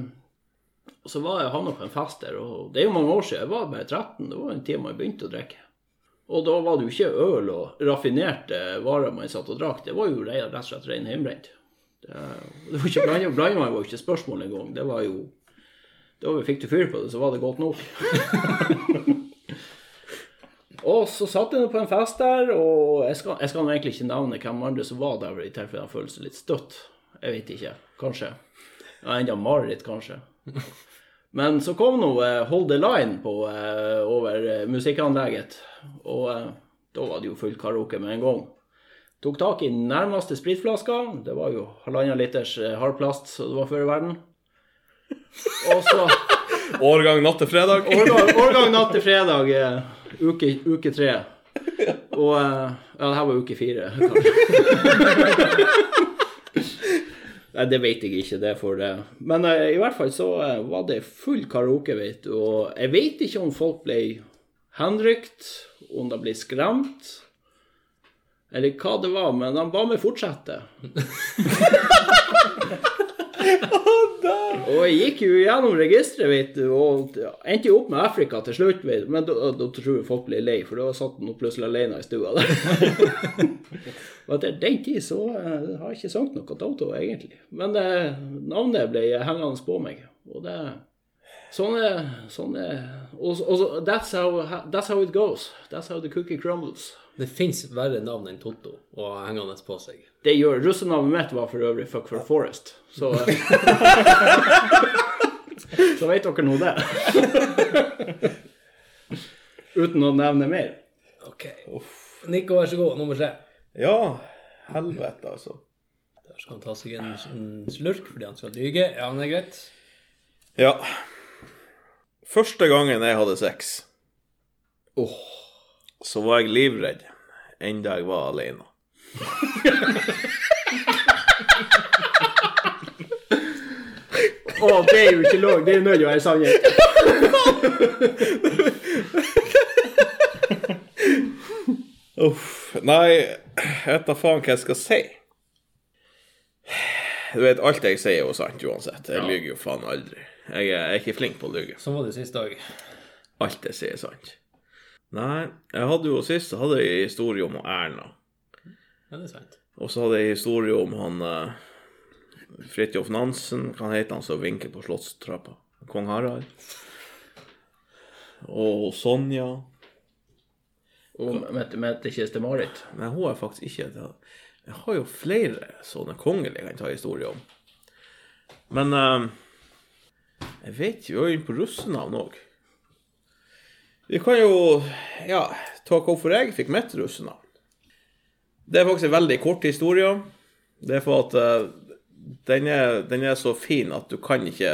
så var jeg havna på en fest der, og det er jo mange år siden. Jeg var bare 13. Det var en tid man begynte å drikke. Og da var det jo ikke øl og raffinerte varer man satt og drakk. Det var jo re- rett og slett ren hjemmebrent. Det, det var ikke blanding, blanding var jo ikke spørsmål engang. Det var jo Da fikk du fyr på det, så var det godt nok. Og så satt jeg nå på en fest der, og jeg skal, jeg skal nå egentlig ikke nevne hvem andre som var der, i tilfelle jeg føler seg litt støtt. Jeg vet ikke. Kanskje. Ja, enda mareritt, kanskje. Men så kom nå eh, Hold the Line på, eh, over eh, musikkanlegget, og eh, da var det jo full karaoke med en gang. Tok tak i nærmeste spritflaska. Det var jo halvannen liters eh, hardplast som det var før i verden. Og så Årgang natt til fredag. Årgang, årgang natt til fredag, eh, uke, uke tre. Og eh, Ja, det her var uke fire, kanskje. Nei, det vet jeg ikke, det får det. Men eh, i hvert fall så eh, var det full karaoke, vet du. Og jeg vet ikke om folk ble henrykt, om de ble skremt, eller hva det var, men han ba meg fortsette. Og jeg gikk jo gjennom registeret, vet du, og endte jo opp med Afrika til slutt. Vet du. Men da, da tror jeg folk ble lei, for da satt han plutselig alene i stua der. Og etter den tid så eh, har jeg ikke sunget noe Toto, egentlig. Men eh, navnet ble hengende på meg. Og det Sånn er sånn er- Og, og så, that's, how, that's how it goes. That's how the cookie crumbles. Det fins verre navn enn Totto å ha hengende på seg. Det gjør Russenavnet mitt var for øvrig Fuck for Forest. Så eh, Så vet dere nå det. Uten å nevne mer. Ok. Nico, vær så god. Nummer tre. Ja, helvete, altså. Der skal han ta seg en, en slurk fordi han skal lyge. Ja, men det er greit. Ja. Første gangen jeg hadde sex, så var jeg livredd enda jeg var alene. Å, det er jo ikke lov. Det er nødt til å være sannhet. Uff. Nei, jeg vet da faen hva jeg skal si. Du vet, alt jeg sier er jo sant uansett. Jeg lyver jo faen aldri. Jeg er, jeg er ikke flink på å lyve. Sånn var det sist dag. Alt jeg sier er sant. Nei, jeg hadde jo sist så hadde jeg en historie om Erna. Ja, det er sant. Og så hadde jeg en historie om han uh, Fridtjof Nansen, hva han heter han som vinker på slottstrappa? Kong Harald. Og Sonja. Og møtte møtte Kiste-Marit. Nei, hun er faktisk ikke det. Jeg har jo flere sånne kongelige jeg kan ta historie om. Men eh, jeg vet jo inn på russenavn òg. Vi kan jo ja, ta hvorfor jeg fikk mitt russenavn. Det er faktisk en veldig kort historie. Det er for at eh, den, er, den er så fin at du kan ikke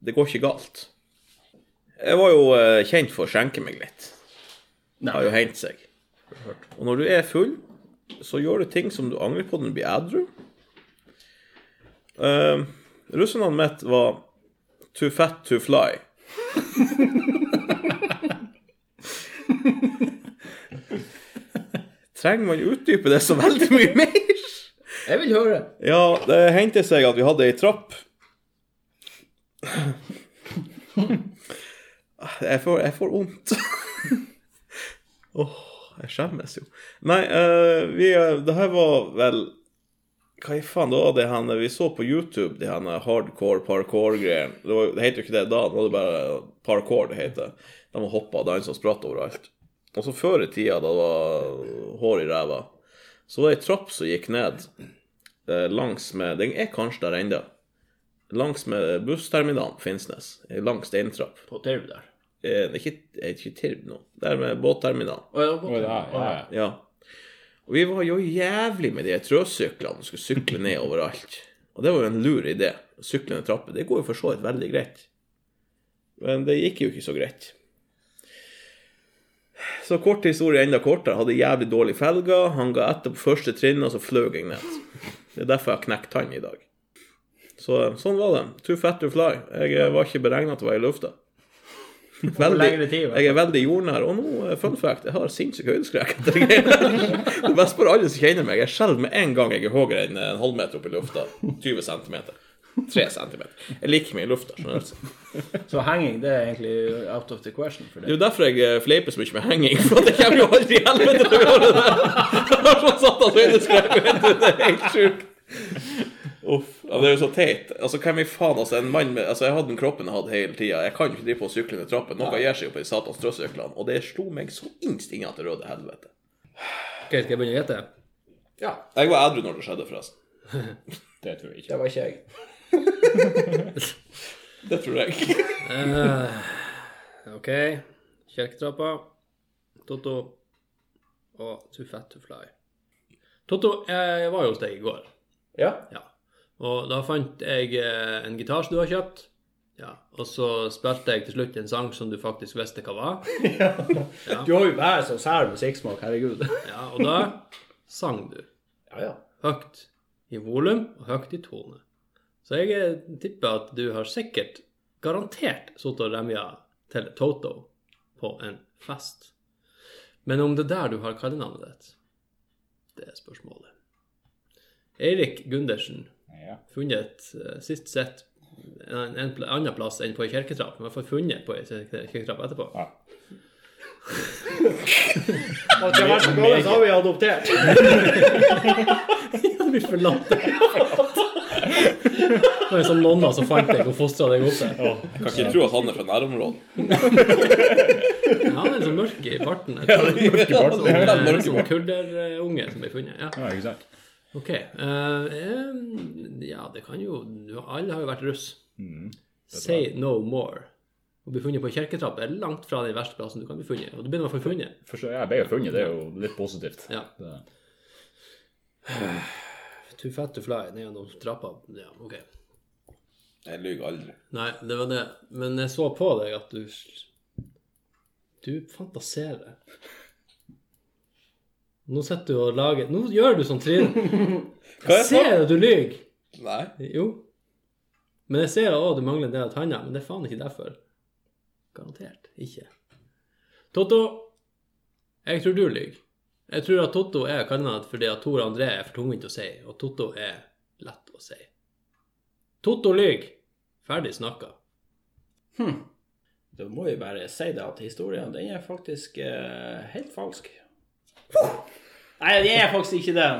Det går ikke galt. Jeg var jo eh, kjent for å skjenke meg litt. Det har jo hendt seg. Og når du er full, så gjør du ting som du angrer på når du blir edru. Uh, Russenavnet mitt var Too Fat To Fly. Trenger man utdype det så veldig mye mer? Jeg vil høre. Ja, det hendte seg at vi hadde ei trapp. Jeg får, jeg får vondt. Åh, jeg skjemmes jo. Nei, eh, vi, eh, det her var vel Hva i faen da det han Vi så på YouTube de han eh, hardcore parkour-greiene. Det, var- det heter jo ikke det da, nå er det bare parkour det heter. De hoppa og dansa og spratt overalt. Og så før i tida, da det var hår i ræva, så var det ei trapp som gikk ned eh, langs med Den er kanskje der ennå. Langs med bussterminalen på Finnsnes. En lang steintrapp. På Derby der. Eh, det er ikke, det er ikke Tirv nå. Der med båtterminalen. Å, ja, på Oi, ja, Derby. ja, ja. Ja. Og vi var jo jævlig med de trøsyklene og skulle sykle ned overalt. Og det var jo en lur idé. å Sykle ned trapper. Det går jo for så vidt veldig greit. Men det gikk jo ikke så greit. Så kort historie enda kortere. Hadde jævlig dårlig felger. Han ga etter på første trinn, og så fløy jeg ned. Det er derfor jeg har knekt tann i dag. Så sånn var det. Too fat to fly. Jeg eh, var ikke beregna til å være i lufta. lengre tid, i hvert fall. jeg er veldig jordnær. Og nå, eh, fun fact, jeg har sinnssyk høydeskrekk. etter det greiene. Det beste for alle som kjenner meg, jeg skjelver med en gang jeg er høyere enn en halvmeter opp i lufta. 20 cm. 3 cm. Jeg liker meg i lufta. skjønner du. Så henging, det er egentlig out of the question for Det det. er jo derfor jeg eh, fleiper så mye med henging, for det kommer jo aldri i helvete til å gjøre det. Det var sånn satt av øyneskrekk, vet du. Det er helt sjukt. Uff. Ja, det er jo så teit. Altså, hvem i faen, altså, en mann med Altså, jeg hadde den kroppen jeg hadde hele tida. Jeg kan ikke drive på og sykle ned trappen. Noe gir seg jo på de satans strøsyklene. Og det slo meg så innst inne at det røde helvete. Ok, skal jeg begynne å gjette? Ja. Jeg var edru når det skjedde, forresten. Det tror jeg ikke. var ikke jeg. Det tror jeg. Ok. Kjelketrappa, Totto og Too Fat To Fly. Totto, jeg var jo hos deg i går. Ja. Ja. Og da fant jeg eh, en gitar som du har kjøpt. Ja. Og så spilte jeg til slutt en sang som du faktisk visste hva var. Du har jo bare så sær musikksmak, herregud. Ja, og da sang du. Ja, ja. Høyt i volum og høyt i tone. Så jeg eh, tipper at du har sikkert, garantert, sittet og remja til Toto på en fest. Men om det er der du har kallenavnet ditt, det er spørsmålet. Eirik Gundersen, Ja. funnet eh, sist sett en, en pl- annen plass enn på ei kirketrapp, men i hvert fall funnet på ei kirke- kirketrapp etterpå. Ja. Hadde jeg vært så gammel, så hadde vi adoptert. Du blir forlatt. Det er sånn nonna som fant deg og fostra deg opp der. Jeg kan ikke tro at han er fra nærområdet. Ja, han er sånn mørk i farten. Jeg tror det Sånn, er eh, en Norge. sånn kurderunge som blir funnet. Ja. Ja, ikke sant? Ok. eh, eh, ja, det kan jo du- Alle har jo vært russ. Mm. Say no more. Å bli funnet på ei kirketrapp er langt fra den verste plassen du kan bli funnet. Og du blir i hvert fall funnet. Forstår, jeg ble jo funnet, det er jo litt positivt. Ja. Det- Too fat to fly ned gjennom trappa. Ja, ok. Jeg lyver aldri. Nei, det var det. Men jeg så på deg at du Du fantaserer. Nå sitter du og lager Nå gjør du sånn Trine. Hva Jeg er det? ser at du lyver. Nei. Jo. Men jeg ser òg du mangler en del av tanna. Men det er faen ikke derfor. Garantert ikke. Totto, jeg tror du lyver. Jeg tror at Totto er kallenavn fordi at Tor André er for tungvint å si, og Totto er lett å si. Totto lyver. Ferdig snakka. Da må vi bare si det at historien, den er faktisk eh, helt falsk. Nei, det er faktisk ikke det.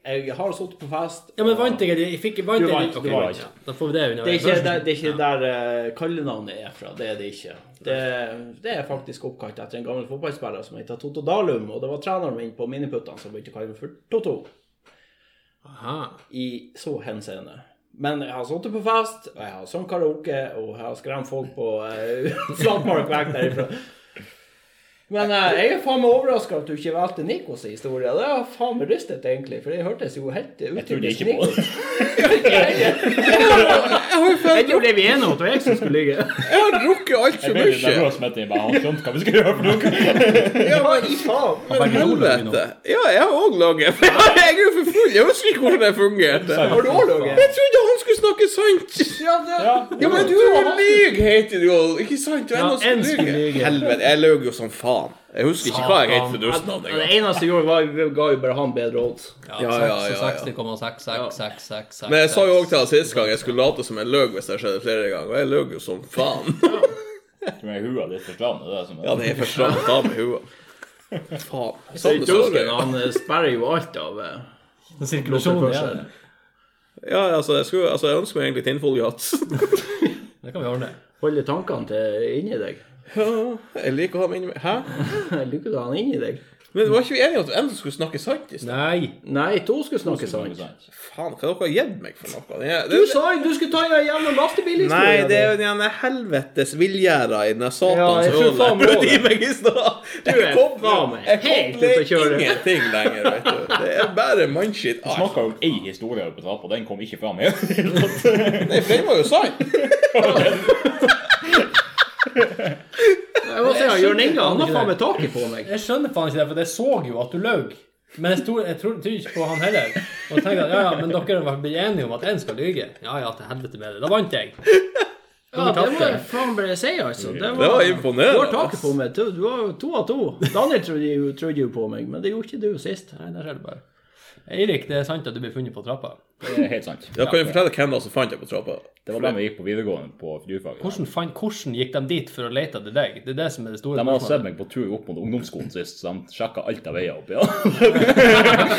Jeg har sittet på fest. Ja, men vant jeg? Jeg fikk vant Du jeg- vant, du Ok, vant. Ja, da får vi det under Det er ikke der, det er ikke der eh, kallenavnet er fra. Det er det ikke. Det, det er faktisk oppkalt etter en gammel fotballspiller som heter Totto Dalum. Og det var treneren min på miniputtene som begynte å kalle meg for Totto. Aha. I så henseende. Men jeg har sittet på fest, og jeg har sunget karaoke, og jeg har skremt folk på eh, Flatmark vekk derifra. Men eh, jeg er faen meg overraska at du ikke valgte Nikos historie. Det har faen meg rystet, egentlig, for det hørtes jo helt ut trodde ikke på det. Jeg tror det vi er nå, at det var jeg som skulle ligge. Jeg har drukket Jeg altfor ble litt mye. nervøs med at jeg bare har skjønt hva vi skal gjøre for noe. Ja, i faen. Men Begge to lager vi nå. helvete! Ja, jeg har òg laget. for Jeg er jo for full. Jeg husker ikke hvordan det fungerte. Har du òg ligget? Jeg trodde han skulle snakke sant! Ja, det... Ja, men du lyg, heter du jo. Ikke sant? Du er Ja, noen som en skulle lyger. lyge. Helvete, jeg løy jo som faen. Jeg husker ikke hva jeg het for Ja, dustnavn Det engang. eneste jeg gjorde, var vi ga jo bare han bedre odds. Ja, ja, ja, ja. 60,66666. Men jeg sa jo òg til han sist gang jeg skulle late som jeg løy hvis det skjedde flere ganger, og jeg løy jo som faen. Med hua litt for stram, det er det som er Ja, det er for stramt av med huet. Faen. Så Sånn det så han eh, sperrer jo alt av eh, Sirkulasjonen seg. igjen. Ja, altså, jeg, skulle, altså, jeg ønsker meg egentlig tinnfoliehatt. Det kan vi ordne. Holde tankene til inni deg. Ja, jeg liker å ha meg inni meg. Hæ? Liker du han inni deg? Men var ikke vi enige om at en skulle snakke sant i sted? Nei! Nei, to skulle snakke sant. Faen, hva har dere gitt meg for noe? Det, det, Du sa jo du skulle ta deg gjennom Nei, lastebilhistorien. det er jo den helvetes villgjerda i den der Ja, satans jeg tror ølen. faen Jeg prøvde det. å gi meg i stad. Du er faen meg helt ute å kobler kjøre. ingenting lenger, vet du. Det er bare mannskitt. Ah, Snakka om ei historie oppe på trappa, den kom ikke fram. Jeg Nei, for den var jo sann. Jeg må si, han Jørn Inge han har faen meg taket på meg. Jeg skjønner faen ikke det, for jeg så jo at du løy. Men jeg, sto, jeg tror, tror ikke på han heller. Og tenkte at ja, ja, men dere var blitt enige om at én skal lyge. Ja ja, til helvete med det. Da vant jeg. Ja, det må jeg faen bare si, altså. Det Det var Du har imponerende. taket på meg. Du du var jo to av to. Daniel trodde jo, trodde jo på meg, men det gjorde ikke du sist. Nei, der ser du bare. Eirik, det er sant at du blir funnet på trappa. Det er helt sant. Da kan du fortelle hvem det var som fant deg på trappa. Det var da vi gikk på videregående på fyrfaget. Hvordan, fant, hvordan gikk de dit for å lete etter deg? Det er det som er det store De hadde sett meg på tur opp mot ungdomsskolen sist, så de sjekka alt av veier oppi. Ja.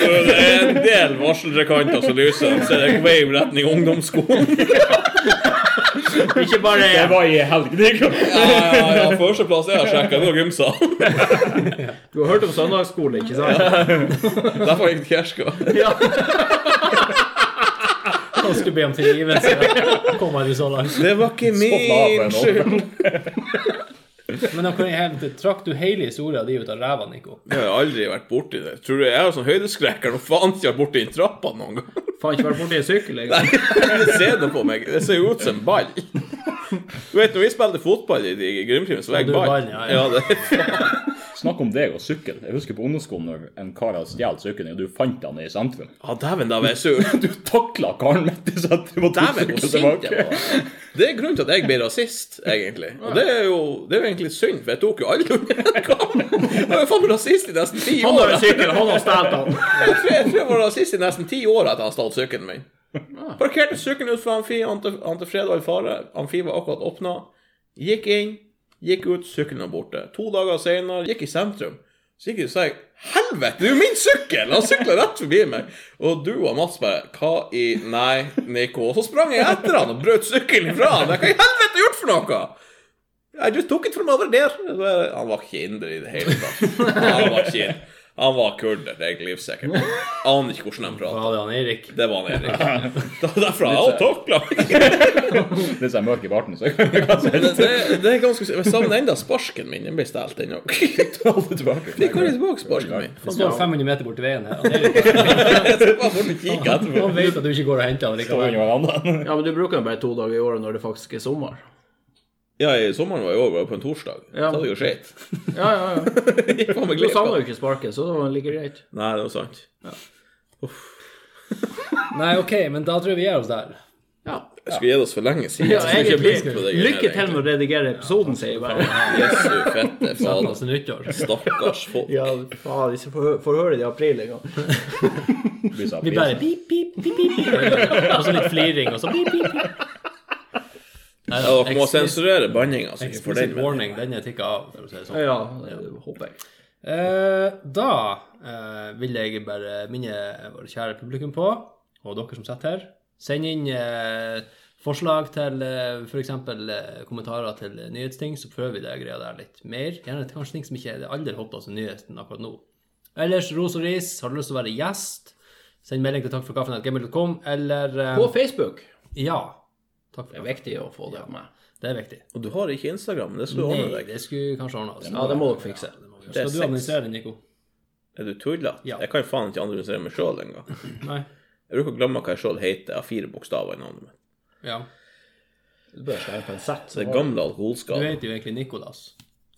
Det er en del varselrekanter som lyser, så det er vei i retning ungdomsskolen. Ikke bare Det var i helg. det gikk opp. Ja, ja, ja, Førsteplass jeg har sjekka, det var gymsalen. Du har hørt om søndagsskole, ikke sant? Derfor gikk det Kjerska. Ja. Han skulle be om tilgivelse. Kom aldri så langt. Det var ikke Stoppa min av på skyld. Men de kan i helvete trakk du hele historien din ut av ræva, Nico? Jeg har aldri vært borti det. Tror du jeg har sånn høydeskrekk? Har noe faen ikke vært borti en trappa noen gang? Faen ikke vært borti en sykkel liksom. engang. Det ser det på meg. Det ser jo ut som en ball. Du vet, når vi spilte fotball i, i Grimtimen, så var jeg du er ball. ball, ja, ja. det, Snakk om deg og sykkel. Jeg husker på ungdomsskolen når en kar hadde stjålet sykkelen, og du fant han i sentrum. ja, dæven, da var jeg sur. Du takla karen midt i sentrum og tok Dæven, hvor sykkelen sint jeg tilbake. var. Det er grunnen til at jeg ble rasist, egentlig. Og det er jo, det er jo egentlig synd, for jeg tok jo alle under en kam. Jeg var jo faen meg rasist i nesten ti Han har år. en sykkel, han har stjålet den. Jeg tror jeg, tror jeg var rasist i nesten ti år etter han stjal sykkelen min. Parkerte sykkelen utenfor Amfi, Ante Ante Fred og Alfare. Amfi var akkurat åpna. Gikk inn, gikk ut, sykkelen var borte. To dager senere gikk i sentrum. Så gikk jeg og sa jeg, 'Helvete, det er jo min sykkel!' Han sykla rett forbi meg. Og du og Mats bare 'Hva i Nei, Nico.' Og så sprang jeg etter han og brøt sykkelen ifra han. Jeg, Hva i helvete har jeg gjort for noe? I just took it from over there. Så jeg, Han var ikke inder i det hele tatt. Han var ikke inder. Han var kurder, det er jeg livsikker på. Aner ikke hvordan de prater. Ja, det er han Eirik. Det var han Erik. Det var derfor jeg har takla meg. Litt sånn mørk i barten, så jeg kan si Det, det er ganske Jeg savner enda sparken min. Den ble stjålet ennå. Fikk det tilbake. aldri tilbake sparken min. Det står 500 meter borti veien her. Han Eirik, Det var for å kikke etterpå. han vet at du ikke går og henter han Står likevel. under verandaen. Ja, men du bruker den bare to dager i året når det faktisk er sommer. Ja, i sommeren var jeg òg på en torsdag. Da hadde jeg jo skjeit. Ja, ja, ja. Gikk faen meg Du glipp av- savner jo ikke sparken, så det var like greit. Nei, det var sant. Nei, OK, men da tror jeg vi er oss der. Ja. Jeg skulle gitt oss for lenge siden. Ja, Jeg skulle ikke egentlig. begynt på det greiene Lykke her, til med å redigere episoden, sier jeg bare. egentlig. Jesu fette Anna fader. sin altså nyttår. Stakkars folk. Ja, faen, disse forhø- forhørene i april en gang. sånn Vi bare pip, pip, pip, pip. Og så litt fliring, og så pip, pip, pip. Nei, Ja, Dere må sensurere banninga, så ikke får den Explicit med. warning, den er tikka av, for å si det sånn. Ja, det håper jeg. Eh, da eh, vil jeg bare minne vårt kjære publikum på, og dere som sitter her, send inn eh, forslag til eh, for f.eks. Eh, kommentarer til nyhetsting, så prøver vi det greia der litt mer. Gjerne til kanskje ting som ikke er det aller hotteste nyheten akkurat nå. Ellers ros og ris. Har du lyst til å være gjest, send melding til takkforkaffen.gmail.com, eller eh, På Facebook. Ja. Takk for Det er kaffen. viktig å få det med. Det er viktig. Og du har ikke Instagram, men det skal du ordne Nei, deg. det skulle kanskje ordna oss. Ja, det må dere fikse. det er Skal du sex. administrere den, Nico? Er du tullete? Ja. Jeg kan jo faen ikke analysere meg sjøl engang. Nei. Jeg bruker å glemme hva jeg sjøl heter. Jeg har fire bokstaver i navnet mitt. Ja. Du bør skrive på en sett. Det er gamle Du alkoholskader. heter jo egentlig Nikolas.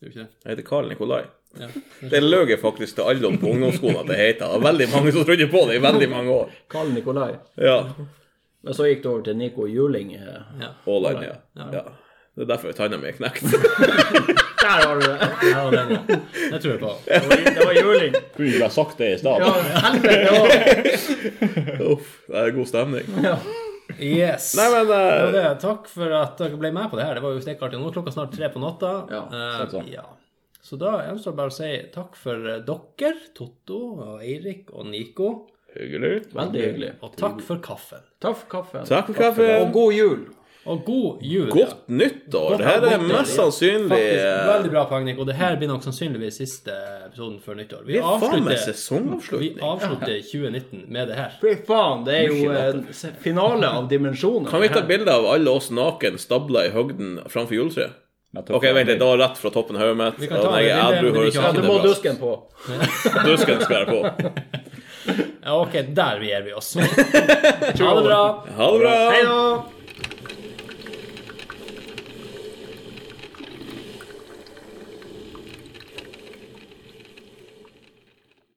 Gjør du ikke det? Jeg heter Karl Nikolai. Ja. Det løy jeg faktisk til alle om på ungdomsskolen at jeg heter. Det var veldig mange som trodde på det i veldig mange år. Karl Nikolai. Ja. Men så gikk det over til Nico Juling. eh. Ja. Åland, ja. ja. Det er derfor tanna mi er knekt. Der har du det! Ja, den, ja. Det tror jeg på. Det var, det var Juling. Kunne ikke ha sagt det i stad. Ja, helvete òg. Uff, det er god stemning. Yes. Nei, men Det var eh, det. Takk for at dere ble med på det her. Det var jo stekkartig. Nå er klokka snart tre på natta. Ja, Eh, sant sånn. ja. Så da gjenstår det bare å si takk for eh, dere, Totto og Eirik og Nico. Hyggelig. Veldig hyggelig. Og takk for kaffen. Takk for kaffen. Takk for kaffen. Og god jul. Og god jul. ja. Godt nyttår! Det her godt er nyttår, mest ja. sannsynlig Faktisk, eh, veldig bra poengning. Og det her blir nok sannsynligvis siste episoden før nyttår. Vi Det er faen meg avslutter, vi sesongavslutning. avslutter 2019 med det her. Fy faen, det er jo en finale av dimensjoner. Kan vi ta bilde av alle oss naken stabla i høgden framfor juletreet? OK, vent litt. Det var rett fra toppen av hodet mitt. Vi kan ta Og nei, det jeg bildet, er edru, men vi høres kan- Ja, ikke du det må bra ut. dusken på. Dusken skal være på. Ja, ok, der gir vi oss. Ha det bra. Ha det bra. Hei da!